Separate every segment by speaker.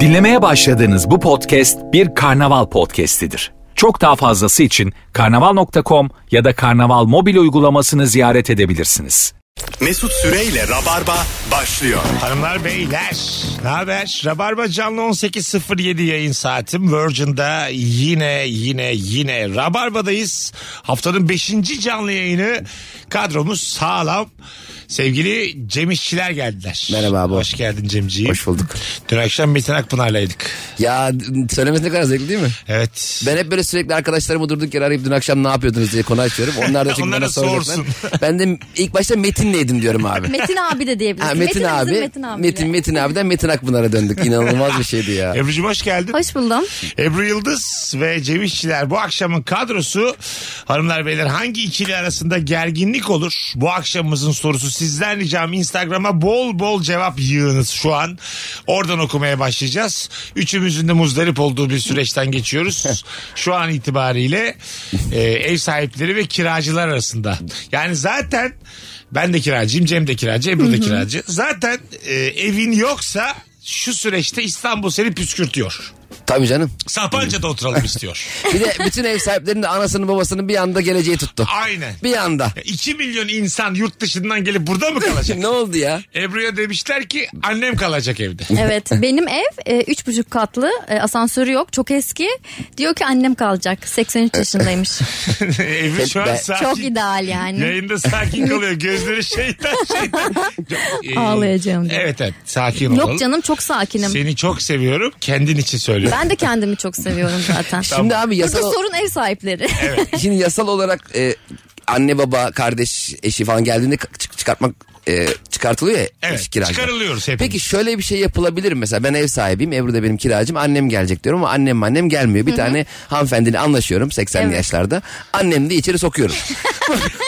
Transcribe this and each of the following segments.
Speaker 1: Dinlemeye başladığınız bu podcast bir karnaval podcastidir. Çok daha fazlası için karnaval.com ya da karnaval mobil uygulamasını ziyaret edebilirsiniz.
Speaker 2: Mesut Süreyle Rabarba başlıyor.
Speaker 3: Hanımlar beyler ne haber? Rabarba canlı 18.07 yayın saatim. Virgin'da yine yine yine Rabarba'dayız. Haftanın 5. canlı yayını kadromuz sağlam. Sevgili Cem İşçiler geldiler.
Speaker 4: Merhaba abi.
Speaker 3: Hoş geldin Cemciğim.
Speaker 4: Hoş bulduk.
Speaker 3: Dün akşam Metin Akpınar'laydık.
Speaker 4: Ya söylemesi ne kadar zevkli değil mi?
Speaker 3: Evet.
Speaker 4: Ben hep böyle sürekli arkadaşlarımı durduk yere arayıp dün akşam ne yapıyordunuz diye konu açıyorum. Onlar da çünkü
Speaker 3: Onlara
Speaker 4: bana soracaklar.
Speaker 3: sorsun.
Speaker 4: ben de ilk başta Metin'leydim diyorum abi.
Speaker 5: Metin abi de diyebilirsin.
Speaker 4: Ha, Metin,
Speaker 5: bizim
Speaker 4: abi,
Speaker 5: Metin abi.
Speaker 4: Metin, Metin abiden Metin Akpınar'a döndük. İnanılmaz bir şeydi ya.
Speaker 3: Ebru'cum hoş geldin.
Speaker 5: Hoş buldum.
Speaker 3: Ebru Yıldız ve Cem İşçiler bu akşamın kadrosu hanımlar beyler hangi ikili arasında gerginlik olur? Bu akşamımızın sorusu sizden ricam Instagram'a bol bol cevap yığınız şu an. Oradan okumaya başlayacağız. Üçümüzün de muzdarip olduğu bir süreçten geçiyoruz. şu an itibariyle e, ev sahipleri ve kiracılar arasında. Yani zaten ben de kiracıyım, Cem de kiracı, Ebru da kiracı. Zaten e, evin yoksa şu süreçte İstanbul seni püskürtüyor.
Speaker 4: Tabii canım.
Speaker 3: Sapanca'da oturalım istiyor.
Speaker 4: Bir de bütün ev sahiplerinin de anasının babasının bir anda geleceği tuttu.
Speaker 3: Aynen.
Speaker 4: Bir anda.
Speaker 3: 2 milyon insan yurt dışından gelip burada mı kalacak?
Speaker 4: ne oldu ya?
Speaker 3: Ebru'ya demişler ki annem kalacak evde.
Speaker 5: Evet benim ev e, üç buçuk katlı e, asansörü yok çok eski. Diyor ki annem kalacak 83 yaşındaymış.
Speaker 3: Ebru şu an
Speaker 4: Ben-
Speaker 3: sakin.
Speaker 5: çok ideal yani.
Speaker 3: Yayında sakin kalıyor. Gözleri şeytan şeytan. Ee,
Speaker 5: Ağlayacağım diye.
Speaker 3: Evet evet sakin olalım.
Speaker 5: Yok canım çok sakinim.
Speaker 3: Seni çok seviyorum. Kendin için söylüyorum.
Speaker 5: Ben de kendimi çok seviyorum zaten.
Speaker 4: Şimdi abi
Speaker 5: Burada
Speaker 4: yasal,
Speaker 5: sorun ev sahipleri.
Speaker 4: şimdi yasal olarak e, anne baba kardeş eşi falan geldiğinde çık- çıkartmak e, çıkartılıyor ya.
Speaker 3: Evet
Speaker 4: eş kiracı.
Speaker 3: çıkarılıyoruz hepimiz.
Speaker 4: Peki şöyle bir şey yapılabilir mi? mesela ben ev sahibiyim Ebru da benim kiracım annem gelecek diyorum ama annem annem gelmiyor. Bir tane hanımefendiyle anlaşıyorum 80'li
Speaker 5: Evet.
Speaker 4: yaşlarda annem de içeri sokuyorum.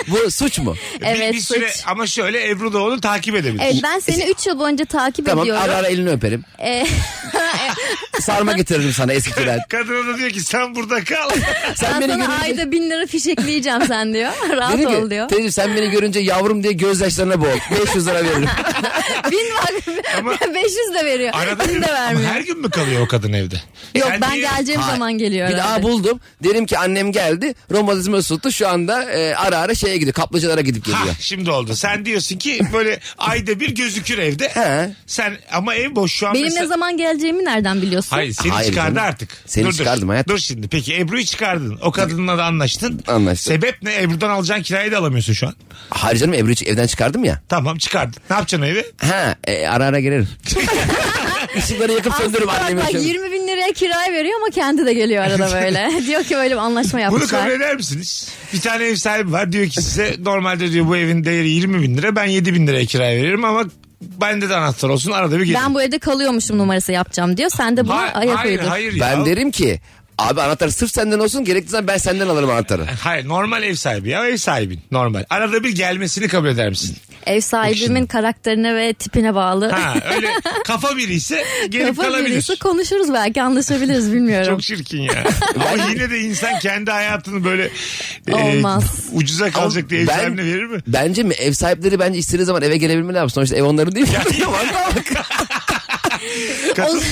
Speaker 4: Bu suç mu?
Speaker 3: Bir-
Speaker 5: evet
Speaker 3: bir süre,
Speaker 5: suç.
Speaker 3: ama şöyle Ebru da onu takip edebilir.
Speaker 5: Evet, ben seni 3 yıl boyunca takip
Speaker 4: Tamam
Speaker 5: ediyorum.
Speaker 4: ara ara elini öperim.
Speaker 5: E,
Speaker 4: Sarma getiririm sana eskikiler.
Speaker 3: Kadına da diyor ki sen burada kal.
Speaker 4: Sen
Speaker 5: ben
Speaker 4: beni
Speaker 5: sana
Speaker 4: görünce,
Speaker 5: ayda bin lira fişekleyeceğim sen diyor. Rahat
Speaker 4: dedi ki,
Speaker 5: ol diyor.
Speaker 4: "Teyzeciğim, sen beni görünce yavrum diye gözyaşlarına boğul. 500 lira veririm.
Speaker 5: bin var.
Speaker 3: Ama-
Speaker 5: 500 de veriyor.
Speaker 3: Arada
Speaker 5: bin
Speaker 3: bir-
Speaker 5: de
Speaker 3: ama
Speaker 5: vermiyor.
Speaker 3: her gün mü kalıyor o kadın evde?
Speaker 5: Yok
Speaker 3: Sen
Speaker 5: ben
Speaker 3: niye-
Speaker 5: geleceğim
Speaker 4: Hayır.
Speaker 5: zaman geliyor.
Speaker 4: bir daha
Speaker 5: herhalde.
Speaker 4: buldum. Derim ki annem geldi. Romatizma tuttu. Şu anda e, ara ara şeye gidiyor. Kaplıcalara gidip
Speaker 3: Ha
Speaker 4: geliyor.
Speaker 3: şimdi oldu. Sen diyorsun ki böyle ayda bir gözükür evde.
Speaker 4: He.
Speaker 3: Sen ama ev boş şu an.
Speaker 5: Benim
Speaker 3: mesela-
Speaker 5: ne zaman geleceğimi nereden biliyorsun?
Speaker 3: Hayır seni
Speaker 4: Hayır
Speaker 3: çıkardı
Speaker 4: canım.
Speaker 3: artık.
Speaker 4: Seni
Speaker 3: Dur, dur.
Speaker 4: çıkardım hayatım.
Speaker 3: Dur şimdi peki Ebru'yu çıkardın. O kadınla da anlaştın.
Speaker 4: Anlaştık.
Speaker 3: Sebep ne? Ebru'dan alacağın kirayı da alamıyorsun şu an.
Speaker 4: Hayır canım Ebru'yu ç- evden çıkardım ya.
Speaker 3: Tamam çıkardın. Ne yapacaksın o evi?
Speaker 4: Ha e, ara ara girerim. Işıkları yakıp söndürürüm annemi.
Speaker 5: Hatta 20 bin liraya kiraya veriyor ama kendi de geliyor arada böyle. Diyor ki böyle bir anlaşma
Speaker 3: Bunu kabul
Speaker 5: yapmışlar.
Speaker 3: eder misiniz? Bir tane ev sahibi var diyor ki size normalde diyor bu evin değeri 20 bin lira ben 7 bin liraya kiraya veririm ama bende de anahtar olsun arada bir gelin.
Speaker 5: Ben bu evde kalıyormuşum numarası yapacağım diyor. Sen de buna
Speaker 3: Ha-
Speaker 5: ayak
Speaker 3: hayır
Speaker 5: uydun.
Speaker 3: hayır ya.
Speaker 4: Ben derim ki abi anahtar sırf senden olsun gerektiği zaman ben senden alırım anahtarı.
Speaker 3: Hayır normal ev sahibi ya ev sahibin normal. Arada bir gelmesini kabul eder misin?
Speaker 5: Ev sahibimin karakterine ve tipine bağlı.
Speaker 3: Ha öyle kafa biri ise gelip
Speaker 5: Kafa
Speaker 3: kalabilir.
Speaker 5: birisi konuşuruz belki anlaşabiliriz bilmiyorum.
Speaker 3: Çok şirkin ya. Ama yine de insan kendi hayatını böyle e,
Speaker 5: Olmaz.
Speaker 3: ucuza kalacak diye ev
Speaker 4: Ben-
Speaker 3: sahibine verir mi?
Speaker 4: Bence mi ev sahipleri bence istediği zaman eve gelebilmeli abi. Sonuçta ev onların değil mi?
Speaker 3: Katıl-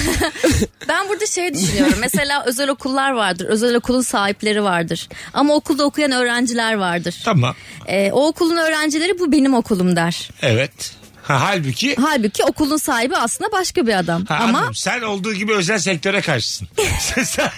Speaker 5: Ben burada şey düşünüyorum. Mesela özel okullar vardır. Özel okulun sahipleri vardır. Ama okulda okuyan öğrenciler vardır.
Speaker 3: tamam.
Speaker 5: Ee, o okulun öğrencileri bu benim okulum der.
Speaker 3: Evet. Ha, halbuki
Speaker 5: Halbuki okulun sahibi aslında başka bir adam.
Speaker 3: ha,
Speaker 5: Ama
Speaker 3: anladım. sen olduğu gibi özel sektöre karşısın. sen,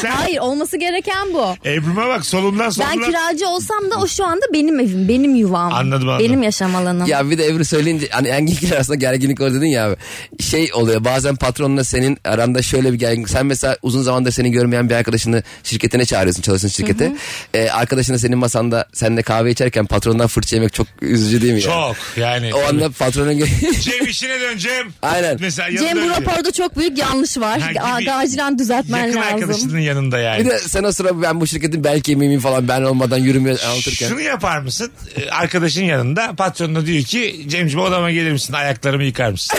Speaker 3: sen
Speaker 5: hayır olması gereken bu.
Speaker 3: Ebru'ma bak solumdan
Speaker 5: Ben
Speaker 3: solumdan.
Speaker 5: kiracı olsam da o şu anda benim evim, benim yuvam.
Speaker 3: Anladım, anladım.
Speaker 5: Benim yaşam alanım.
Speaker 4: ya bir de Ebru söyleyince hani hangi ikili arasında gerginlik var dedin ya abi. Şey oluyor bazen patronla senin aranda şöyle bir gerginlik. Sen mesela uzun zamandır seni görmeyen bir arkadaşını şirketine çağırıyorsun çalıştığın şirkete. Ee, arkadaşını senin masanda seninle kahve içerken patrondan fırça yemek çok üzücü değil mi ya?
Speaker 3: Çok yani.
Speaker 4: O anda patronun gö-
Speaker 3: Cem işine döneceğim.
Speaker 4: Aynen.
Speaker 3: Mesela
Speaker 5: Cem
Speaker 3: yanında
Speaker 5: bu
Speaker 3: öyle.
Speaker 5: raporda çok büyük yanlış var.
Speaker 3: Ha, gibi.
Speaker 5: Aa, Acilen düzeltmen
Speaker 3: Yakın
Speaker 5: lazım.
Speaker 3: arkadaşının yanında yani.
Speaker 4: Bir de sen o sıra ben bu şirketin belki mimim falan ben olmadan yürümeye anlatırken.
Speaker 3: Şunu yapar mısın? Ee, Arkadaşın yanında patronuna diyor ki Cemciğim odama gelir misin? Ayaklarımı yıkar mısın?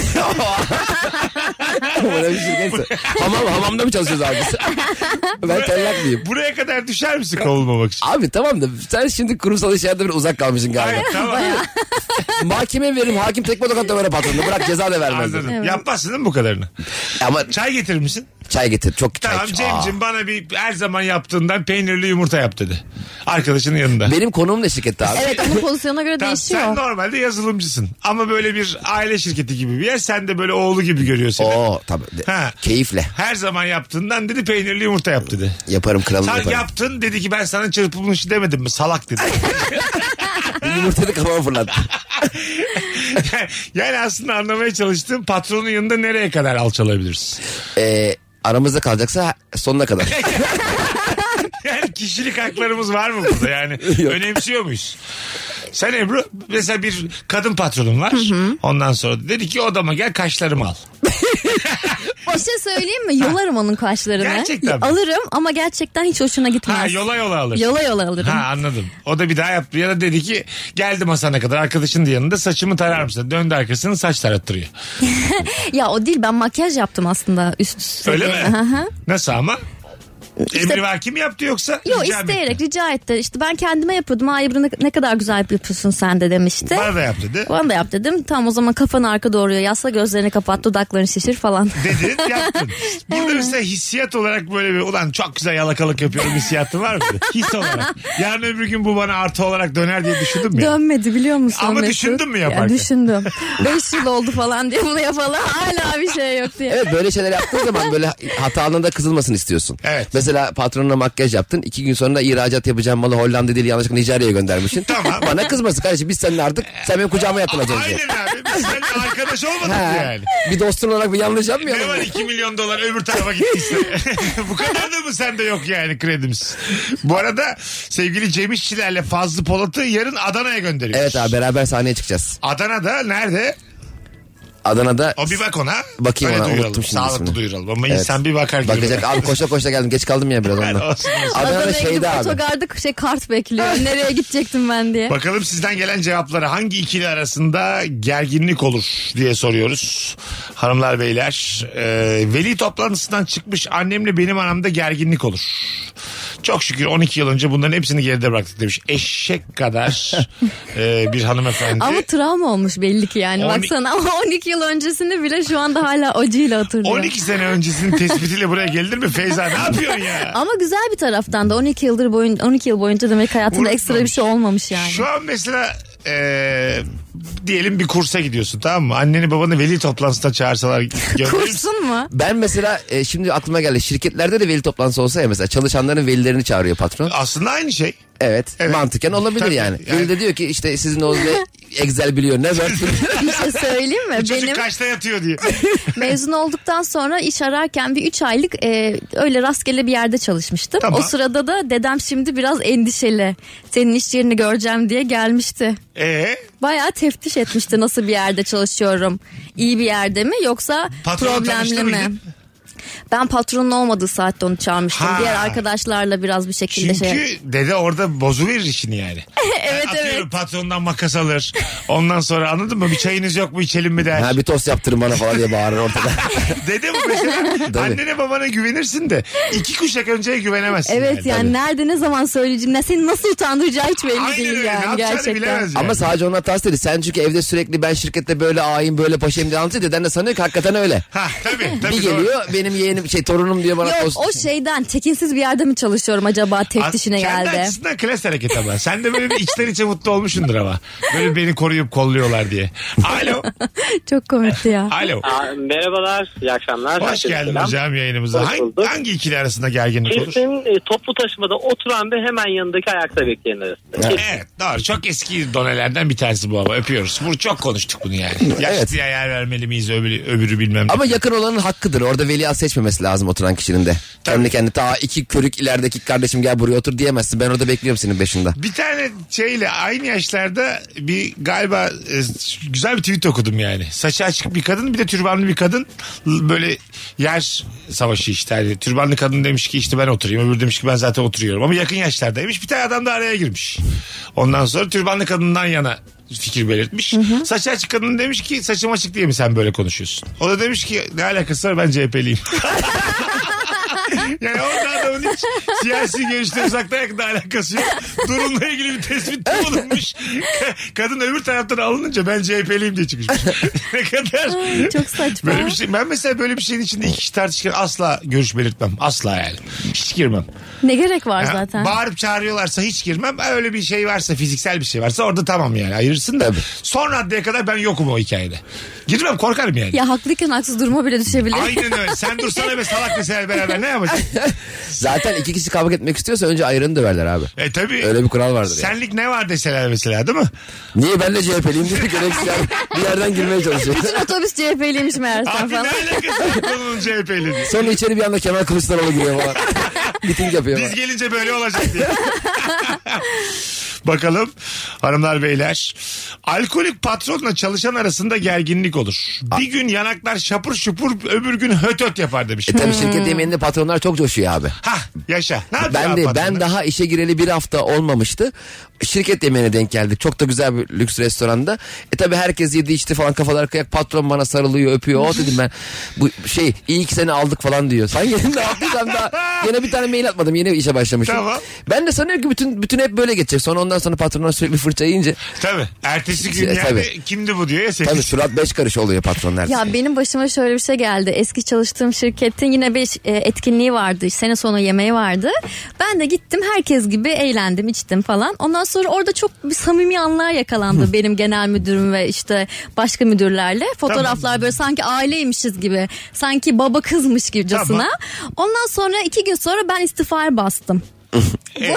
Speaker 4: Bana bir şirketse. Hamam, hamamda mı çalışıyoruz abi biz? ben tellak mıyım?
Speaker 3: E, Buraya kadar düşer misin kovulmamak için?
Speaker 4: Abi tamam da sen şimdi kurumsal işlerde bir uzak kalmışsın galiba.
Speaker 3: Hayır tamam.
Speaker 4: Mahkeme veririm hakim tekme tokat da böyle patronunu bırak ceza da vermez.
Speaker 3: Anladım. Yapmazsın değil mi bu kadarını?
Speaker 4: Ama
Speaker 3: Çay getirir misin?
Speaker 4: çay getir çok çay.
Speaker 3: Tamam
Speaker 4: Aa.
Speaker 3: Cem'cim bana bir her zaman yaptığından peynirli yumurta yap dedi. Arkadaşının yanında.
Speaker 4: Benim konuğum ne şirkette abi?
Speaker 5: Evet onun pozisyona göre
Speaker 3: Tamam, sen
Speaker 5: değişiyor.
Speaker 3: normalde yazılımcısın ama böyle bir aile şirketi gibi bir yer sen de böyle oğlu gibi görüyor seni.
Speaker 4: Oo tabii. De-
Speaker 3: Ha.
Speaker 4: Keyifle.
Speaker 3: Her zaman yaptığından dedi peynirli yumurta yap dedi.
Speaker 4: Yaparım kralım
Speaker 3: Sen
Speaker 4: yaparım.
Speaker 3: yaptın dedi ki ben sana çırpılmış demedim mi salak dedi.
Speaker 4: Yumurtayı da kafama fırlattı.
Speaker 3: yani aslında anlamaya çalıştığım patronun yanında nereye kadar alçalabiliriz?
Speaker 4: Ee, aramızda kalacaksa sonuna kadar.
Speaker 3: Yani kişilik haklarımız var mı burada yani? önemsiyor muyuz? Sen Ebru mesela bir kadın patronun var. Ondan sonra dedi ki odama gel kaşlarımı al.
Speaker 5: Bir şey söyleyeyim mi? Yolarım onun kaşlarını.
Speaker 3: Gerçekten mi?
Speaker 5: Alırım ama gerçekten hiç hoşuna gitmez.
Speaker 3: Ha yola yola alır.
Speaker 5: Yola yola alırım.
Speaker 3: Ha anladım. O da bir daha yaptı. Ya da dedi ki geldim Hasan'a kadar arkadaşın da yanında saçımı tarar mısın? Döndü arkasını saç tarattırıyor.
Speaker 5: Ya o değil ben makyaj yaptım aslında üst üste.
Speaker 3: Öyle mi?
Speaker 5: Hı hı.
Speaker 3: Nasıl ama? Emri vaki mi yaptı yoksa?
Speaker 5: Yo
Speaker 3: rica mı
Speaker 5: isteyerek
Speaker 3: etti?
Speaker 5: rica etti. İşte ben kendime yapıyordum. Ay bunu ne- ne kadar güzel yapıyorsun sen de demişti.
Speaker 3: Bana da yap dedi.
Speaker 5: Bana da yap dedim. Tam o zaman kafanı arka doğruya yasla gözlerini kapat dudaklarını şişir falan.
Speaker 3: Dedin yaptın. Burada mesela hissiyat olarak böyle bir ulan çok güzel yalakalık yapıyorum hissiyatın var mı? His olarak. Yarın öbür gün bu bana artı olarak döner diye düşündün mü? ya?
Speaker 5: Dönmedi biliyor musun
Speaker 3: Ama
Speaker 5: Mesut?
Speaker 3: düşündün mü
Speaker 5: Ya
Speaker 3: yaparken?
Speaker 5: düşündüm. 5 yıl oldu falan diye bunu yapalım. Hala bir şey yok diye.
Speaker 4: Evet böyle şeyler yaptığın zaman böyle hatanın da kızılmasını istiyorsun.
Speaker 3: Evet.
Speaker 4: Mesela patronuna makyaj yaptın. iki gün sonra ihracat yapacağım malı Hollanda değil yanlışlıkla Nijerya'ya göndermişsin.
Speaker 3: Tamam.
Speaker 4: Bana kızmasın kardeşim biz senin artık sen benim kucağıma yatın az önce.
Speaker 3: Aynen abi. Biz seninle arkadaş olmadık
Speaker 4: Ha,
Speaker 3: yani.
Speaker 4: Bir dostun olarak bir yanlış
Speaker 3: Ne
Speaker 4: yapmayalım.
Speaker 3: var
Speaker 4: mı?
Speaker 3: 2 milyon dolar öbür tarafa gittiyse. Bu kadar da mı sende yok yani kredimiz? Bu arada sevgili Cem İşçilerle Fazlı Polat'ı yarın Adana'ya gönderiyoruz.
Speaker 4: Evet abi beraber sahneye çıkacağız.
Speaker 3: Adana'da nerede?
Speaker 4: Adana'da
Speaker 3: O bir bak ona.
Speaker 4: Bakayım
Speaker 3: Öyle
Speaker 4: ona,
Speaker 3: duyuralım.
Speaker 4: unuttum şimdi
Speaker 3: Sağlıklı
Speaker 4: ismini.
Speaker 3: duyuralım ama
Speaker 4: Evet.
Speaker 3: insan bir bakar gibi.
Speaker 4: bakacak. Abi koşa koşa geldim. Geç kaldım ya biraz
Speaker 3: Yani
Speaker 4: ondan.
Speaker 3: olsun, olsun.
Speaker 4: Adana'da
Speaker 5: Adana'ya gidip
Speaker 4: şeyde abi.
Speaker 5: otogarda şey kart bekliyor. Nereye gidecektim ben diye.
Speaker 3: Bakalım sizden gelen cevaplara hangi ikili arasında gerginlik olur diye soruyoruz. Hanımlar beyler e, veli toplantısından çıkmış annemle benim aramda gerginlik olur. Çok şükür 12 yıl önce bunların hepsini geride bıraktık demiş. Eşek kadar e, bir hanımefendi.
Speaker 5: Ama travma olmuş belli ki yani.
Speaker 3: On-
Speaker 5: Baksana ama 12 yıl öncesinde bile şu anda hala acıyla hatırlıyor.
Speaker 3: 12 sene öncesinin tespitiyle buraya gelir mi Feyza ne yapıyorsun ya?
Speaker 5: Ama güzel bir taraftan da 12 yıldır boyun 12 yıl boyunca demek hayatında
Speaker 3: Unutmamış.
Speaker 5: ekstra bir şey olmamış yani.
Speaker 3: Şu an mesela e, diyelim bir kursa gidiyorsun tamam mı? Anneni babanı veli toplantısına çağırsalar gönderir misin?
Speaker 5: Kursun mu?
Speaker 4: Ben mesela e, şimdi aklıma geldi. Şirketlerde de veli toplantısı olsa ya mesela çalışanların velilerini çağırıyor patron.
Speaker 3: Aslında aynı şey.
Speaker 4: Evet,
Speaker 3: Evet.
Speaker 4: mantıken olabilir
Speaker 3: Tabii,
Speaker 4: yani.
Speaker 3: yani.
Speaker 4: Veli de diyor ki işte sizin oğlunuz ne Excel biliyor ne Word biliyor.
Speaker 5: Bir şey söyleyeyim mi?
Speaker 3: Çocuk
Speaker 5: Benim
Speaker 3: kaçta yatıyor diye.
Speaker 5: mezun olduktan sonra iş ararken bir 3 aylık e, öyle rastgele bir yerde çalışmıştım.
Speaker 3: Tamam.
Speaker 5: O sırada da dedem şimdi biraz endişeli. Senin iş yerini göreceğim diye gelmişti.
Speaker 3: Ee,
Speaker 5: Bayağı teftiş etmişti nasıl bir yerde çalışıyorum. İyi bir yerde mi yoksa
Speaker 3: Patronla
Speaker 5: problemli
Speaker 3: tanıştı
Speaker 5: mi?
Speaker 3: mıydın?
Speaker 5: Ben patronun olmadığı saatte onu çağırmıştım.
Speaker 3: Ha.
Speaker 5: Diğer arkadaşlarla biraz bir şekilde
Speaker 3: çünkü
Speaker 5: şey.
Speaker 3: dede orada bozuverir işini yani. evet Atıyorum
Speaker 5: evet.
Speaker 3: patrondan makas alır. Ondan sonra anladın mı? Bir çayınız yok mu içelim mi der.
Speaker 4: Ha bir tost yaptırın bana falan diye bağırır ortada.
Speaker 3: Dede bu mesela.
Speaker 4: Tabii.
Speaker 3: Annene babana güvenirsin de iki kuşak önceye güvenemezsin.
Speaker 5: Evet yani, nerede ne zaman söyleyeceğim ne seni nasıl utandıracağı hiç belli
Speaker 3: Aynen
Speaker 5: değil
Speaker 3: öyle. Ne
Speaker 5: yani
Speaker 3: yapacağını
Speaker 5: gerçekten.
Speaker 3: bilemez yani.
Speaker 4: Ama sadece onun hatası değil. Sen çünkü evde sürekli ben şirkette böyle ağayım böyle paşayım diye anlatıyor. Deden de sanıyor ki hakikaten öyle.
Speaker 3: Ha tabii. tabii
Speaker 4: Bir
Speaker 3: doğru.
Speaker 4: geliyor benim yeğenim şey torunum diyor bana
Speaker 5: Yok
Speaker 4: tost.
Speaker 5: o şeyden tekinsiz bir yerde mi çalışıyorum acaba teftişine
Speaker 3: Kendi
Speaker 5: geldi.
Speaker 3: açısından klas hareket ama. Sen de böyle bir içten içe mutlu olmuşsundur ama. Böyle beni koruyup kolluyorlar diye. Alo.
Speaker 5: Çok komikti ya.
Speaker 3: Alo.
Speaker 6: Aa, Merhabalar, iyi akşamlar.
Speaker 3: Hoş
Speaker 6: Herkese
Speaker 3: geldin
Speaker 6: selam.
Speaker 3: hocam yayınımıza.
Speaker 6: Hoş
Speaker 3: Hangi,
Speaker 6: bulduk.
Speaker 3: hangi ikili arasında gerginlik olur?
Speaker 6: Kesin e, toplu taşımada oturan ve hemen yanındaki ayakta bekleyen arasında. Kesin.
Speaker 3: Evet doğru. Çok eski donelerden bir tanesi bu ama öpüyoruz. Bu çok konuştuk bunu yani. Yaşlıya yer vermeli miyiz öbürü, öbürü bilmem ne.
Speaker 4: Ama yakın olanın hakkıdır. Orada veliaht seçmemesi lazım oturan kişinin de. Kendi kendi ta iki körük ilerideki kardeşim gel buraya otur diyemezsin. Ben orada bekliyorum senin beşinde.
Speaker 3: Bir tane şeyle aynı yaşlarda bir galiba e, güzel bir tweet okudum yani. Saçı açık bir kadın bir de türbanlı bir kadın L- böyle yer savaşı işte. Yani türbanlı kadın demiş ki işte ben oturayım öbürü demiş ki ben zaten oturuyorum ama yakın yaşlardaymış. Bir tane adam da araya girmiş. Ondan sonra türbanlı kadından yana fikir belirtmiş. Saçı açık kadın demiş ki saçım açık diye mi sen böyle konuşuyorsun? O da demiş ki ne alakası var ben CHP'liyim. yani orada adamın hiç siyasi görüşte uzaktan yakında alakası yok. Durumla ilgili bir tespit bulunmuş. Kadın öbür taraftan alınınca ben CHP'liyim diye çıkmış. ne kadar
Speaker 5: Ay, çok saçma.
Speaker 3: Böyle bir şey, ben mesela böyle bir şeyin içinde iki kişi tartışırken asla görüş belirtmem. Asla yani. Hiç girmem.
Speaker 5: Ne gerek var
Speaker 3: Ha,
Speaker 5: zaten?
Speaker 3: Bağırıp çağırıyorlarsa hiç girmem. Ha, Öyle bir şey varsa fiziksel bir şey varsa orada tamam yani ayırırsın da. Son raddeye kadar ben yokum o hikayede. Girmem korkarım yani.
Speaker 5: ya haklıyken haksız duruma bile düşebilir.
Speaker 3: Aynen öyle. Sen dursana be salak mesela beraber ne yapacaksın?
Speaker 4: Zaten iki kişi kavga etmek istiyorsa önce ayranı döverler abi.
Speaker 3: E tabii.
Speaker 4: Öyle bir kural vardır yani.
Speaker 3: Senlik ne var deseler mesela değil mi?
Speaker 4: Niye ben de CHP'liyim diye gereksiz yani bir yerden girmeye çalışıyor.
Speaker 5: Bütün otobüs CHP'liymiş meğersem
Speaker 3: Abi ne
Speaker 5: falan.
Speaker 3: alakası var konunun CHP'li?
Speaker 4: Sonra içeri bir anda Kemal Kılıçdaroğlu giriyor falan. Miting yapıyor
Speaker 3: Biz
Speaker 4: falan.
Speaker 3: gelince böyle olacak diye. Bakalım hanımlar beyler. Alkolik patronla çalışan arasında gerginlik olur. Bir gün yanaklar şapur şupur öbür gün höt höt yapar demiş.
Speaker 4: E tabii şirket yemeğinde patronlar çok coşuyor abi.
Speaker 3: Hah yaşa. Ne yapıyor
Speaker 4: Ben
Speaker 3: abi
Speaker 4: de
Speaker 3: patronlar?
Speaker 4: ben daha işe gireli bir hafta olmamıştı. Şirket yemeğine denk geldik. Çok da güzel bir lüks restoranda. E tabi herkes yedi içti falan kafalar kıyak. Patron bana sarılıyor öpüyor. O dedim ben bu şey iyi ki seni aldık falan diyor. Sanki ne yaptıysam daha yine bir tane mail atmadım. Yeni işe başlamışım.
Speaker 3: Tamam.
Speaker 4: Ben de sanıyorum ki bütün bütün hep böyle geçecek. Sonra ondan sonra patronlar sürekli fırça yiyince.
Speaker 3: Tabii. Ertesi gün
Speaker 4: E,
Speaker 3: yani
Speaker 4: tabii.
Speaker 3: kimdi bu diyor ya.
Speaker 4: Tabi surat beş karış oluyor patronlar.
Speaker 5: Ya benim başıma şöyle bir şey geldi. Eski çalıştığım şirketin yine bir e, etkinliği vardı. Sene sonu yemeği vardı. Ben de gittim herkes gibi eğlendim içtim falan. Ondan sonra orada çok bir samimi anlar yakalandı. benim genel müdürüm ve işte başka müdürlerle. Fotoğraflar böyle sanki aileymişiz gibi. Sanki baba kızmış gibicasına. Ondan sonra iki gün sonra ben istifaya bastım.
Speaker 3: Ee,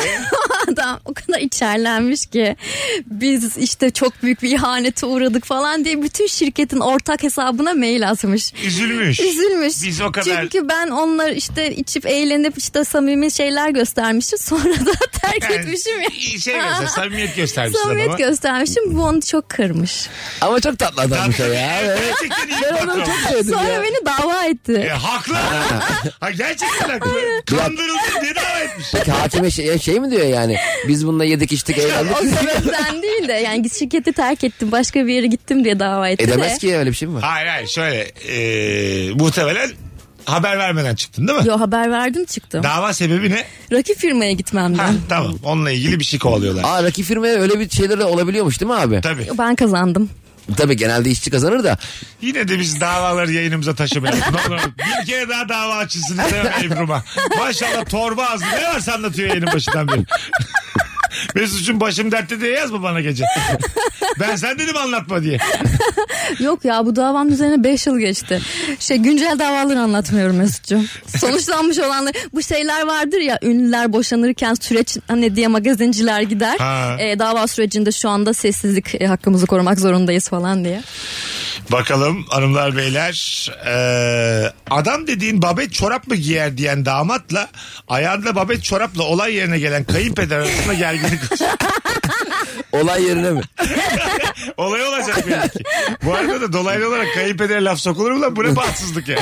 Speaker 5: Bu adam o kadar içerlenmiş ki biz işte çok büyük bir ihanete uğradık falan diye bütün şirketin ortak hesabına mail atmış.
Speaker 3: Üzülmüş.
Speaker 5: Üzülmüş.
Speaker 3: Biz o kadar-
Speaker 5: Çünkü ben onlar işte içip eğlenip işte samimi şeyler göstermişim. Sonra da terk
Speaker 3: Yani
Speaker 5: etmişim ya.
Speaker 3: Şey mesela samimiyet göstermişsin
Speaker 5: Samimiyet
Speaker 3: adama.
Speaker 5: göstermişim. Bu onu çok kırmış.
Speaker 4: Ama çok tatlı adammış o ya. Evet.
Speaker 3: Gerçekten iyi
Speaker 4: Ben onu
Speaker 3: patron.
Speaker 4: çok sevdim
Speaker 5: Sonra
Speaker 4: ya.
Speaker 5: beni dava
Speaker 3: E,
Speaker 5: etti.
Speaker 3: haklı. ha, gerçekten haklı. Kandırıldı diye dava etmiş.
Speaker 4: Peki hakime şey, şey mi diyor yani? Biz bununla yedik içtik eğlendik.
Speaker 5: O sebepten değil de yani şirketi terk ettim başka bir yere gittim diye dava etti
Speaker 4: Edemez
Speaker 5: de.
Speaker 4: ki öyle bir şey mi var?
Speaker 3: Hayır hayır şöyle. E, muhtemelen haber vermeden çıktın değil mi?
Speaker 5: Yo haber verdim çıktım.
Speaker 3: Dava sebebi ne?
Speaker 5: Rakip firmaya
Speaker 3: Ha,
Speaker 5: gitmemden.
Speaker 3: tamam. Onunla ilgili bir şey kovalıyorlar.
Speaker 4: Aa rakip firmaya öyle bir şeyler de olabiliyormuş değil mi abi?
Speaker 3: Tabii.
Speaker 5: Ben kazandım.
Speaker 4: Tabii genelde işçi kazanır da.
Speaker 3: Yine de biz davaları yayınımıza taşımayalım. Ne olur. bir kere daha dava açılsın istemem Ebru'ma. Maşallah torba ağzı ne varsa anlatıyor yayının başından beri. Mesut'cum başım dertte diye yazma bana gece. ben sen dedim anlatma diye.
Speaker 5: Yok ya bu davanın üzerine 5 yıl geçti. Şey güncel davaları anlatmıyorum Mesut'cum. Sonuçlanmış olanlar bu şeyler vardır ya ünlüler boşanırken süreç hani diye magazinciler gider.
Speaker 3: Ha.
Speaker 5: Ee, dava sürecinde şu anda sessizlik e, hakkımızı korumak zorundayız falan diye.
Speaker 3: Bakalım hanımlar beyler. Ee, adam dediğin babet çorap mı giyer diyen damatla ayağında babet çorapla olay yerine gelen kayınpeder arasında gerginlik
Speaker 4: Olay yerine mi?
Speaker 3: Olay olacak belki. Bu arada da dolaylı olarak kayınpedere laf sokulur mu lan? Bu ne bahtsızlık ya.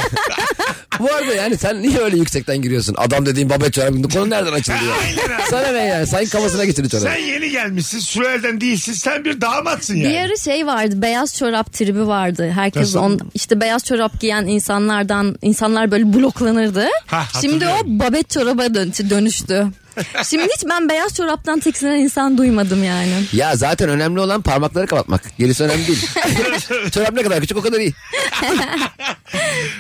Speaker 4: Bu arada yani sen niye öyle yüksekten giriyorsun? Adam dediğin babet çorabı konu nereden açıldı ya?
Speaker 3: Aynen abi.
Speaker 4: Sana ne yani? Sen kafasına geçir hiç
Speaker 3: Sen
Speaker 4: oraya.
Speaker 3: yeni gelmişsin. Sürelden değilsin. Sen bir damatsın yani.
Speaker 5: Bir ara şey vardı beyaz çorap tribi vardı. Herkes
Speaker 3: Nasıl?
Speaker 5: on, işte beyaz çorap giyen insanlardan insanlar böyle bloklanırdı.
Speaker 3: Ha,
Speaker 5: Şimdi o
Speaker 3: hatırlıyorum.
Speaker 5: babet çoraba dön- dönüştü. Şimdi hiç ben beyaz çoraptan tiksinen insan duymadım yani.
Speaker 4: Ya zaten önemli olan parmakları kapatmak. Gerisi önemli değil. Çorap ne kadar küçük o kadar iyi.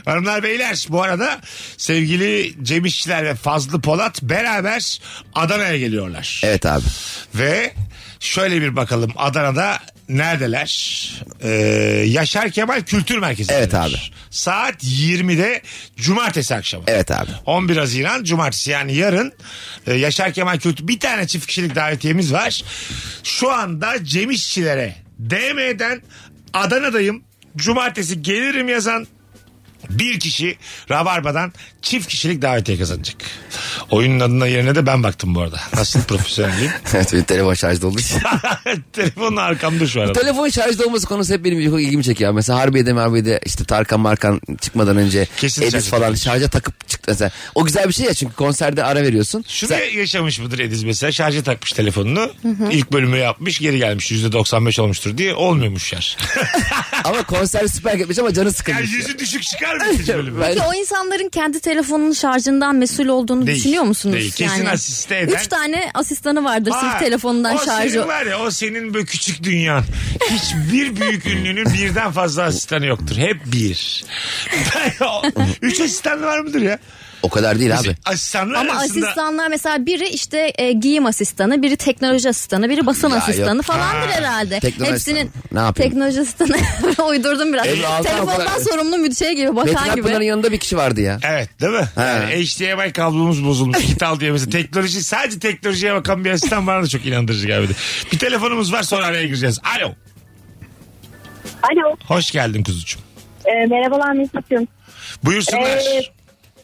Speaker 3: Hanımlar beyler bu arada sevgili Cem İşçiler ve Fazlı Polat beraber Adana'ya geliyorlar.
Speaker 4: Evet abi.
Speaker 3: Ve şöyle bir bakalım Adana'da neredeler? Ee, Yaşar Kemal Kültür Merkezi.
Speaker 4: Evet abi.
Speaker 3: Saat 20'de cumartesi akşamı.
Speaker 4: Evet abi.
Speaker 3: 11 Haziran Cumartesi yani yarın e, Yaşar Kemal Kültür bir tane çift kişilik davetiyemiz var. Şu anda Cem İşçilere DM'den Adana'dayım Cumartesi gelirim yazan bir kişi Rabarba'dan çift kişilik davetiye kazanacak. Oyunun adına yerine de ben baktım bu arada. Nasıl profesyonelliyim?
Speaker 4: evet benim telefon şarjda olduğu için.
Speaker 3: Telefonun arkamda şu arada.
Speaker 4: Telefon şarjda olması konusu hep benim çok ilgimi çekiyor. Mesela Harbiye'de Harbiye'de işte Tarkan Markan çıkmadan önce
Speaker 3: Kesin
Speaker 4: Edis
Speaker 3: şarja
Speaker 4: falan şarja takıp çıktı. Mesela. O güzel bir şey ya çünkü konserde ara veriyorsun.
Speaker 3: Şunu yaşamış mıdır Ediz mesela şarja takmış telefonunu ilk bölümü yapmış geri gelmiş %95 olmuştur diye olmuyormuş şarj.
Speaker 4: Ama konser süper gitmiş ama canı
Speaker 3: yani
Speaker 4: sıkılmış.
Speaker 3: yüzü düşük çıkar mı ikinci bölümü?
Speaker 4: Ben-
Speaker 5: Peki o insanların kendi telefonunun şarjından mesul olduğunu
Speaker 3: Değil,
Speaker 5: düşünüyor musunuz?
Speaker 3: değil. Kesin asiste eden-
Speaker 5: Üç tane asistanı vardır
Speaker 3: Var.
Speaker 5: sırf telefonundan
Speaker 3: o
Speaker 5: şarjı.
Speaker 3: Senin var ya, o senin böyle küçük dünyan. Hiçbir büyük ünlünün birden fazla asistanı yoktur. Hep bir. Üç asistan var mıdır ya?
Speaker 4: O kadar değil abi.
Speaker 3: Asistanlar
Speaker 5: Ama
Speaker 3: arasında...
Speaker 5: asistanlar mesela biri işte e, giyim asistanı, biri teknoloji asistanı, biri basın
Speaker 4: Ya yok.
Speaker 5: asistanı falandır
Speaker 3: Ha.
Speaker 5: herhalde.
Speaker 4: Teknoloji
Speaker 5: Hepsinin
Speaker 4: asistanı. Ne yapayım?
Speaker 5: teknoloji asistanı uydurdum biraz.
Speaker 4: Ebru Altan o
Speaker 5: Telefondan
Speaker 4: kadar-
Speaker 5: sorumlu bir şey gibi
Speaker 4: Metin
Speaker 5: bakan
Speaker 4: Akpınar'ın
Speaker 5: gibi.
Speaker 4: yanında bir kişi vardı ya.
Speaker 3: Evet değil mi?
Speaker 4: He.
Speaker 3: Yani HDMI kablomuz bozulmuş. Git al diye mesela teknoloji sadece teknolojiye bakan bir asistan bana da çok inandırıcı geldi. Bir telefonumuz var sonra araya gireceğiz. Alo.
Speaker 7: Alo.
Speaker 3: Hoş geldin kuzucuğum.
Speaker 7: Ee, merhabalar Mesut'cum.
Speaker 3: Buyursunlar.
Speaker 7: Ee,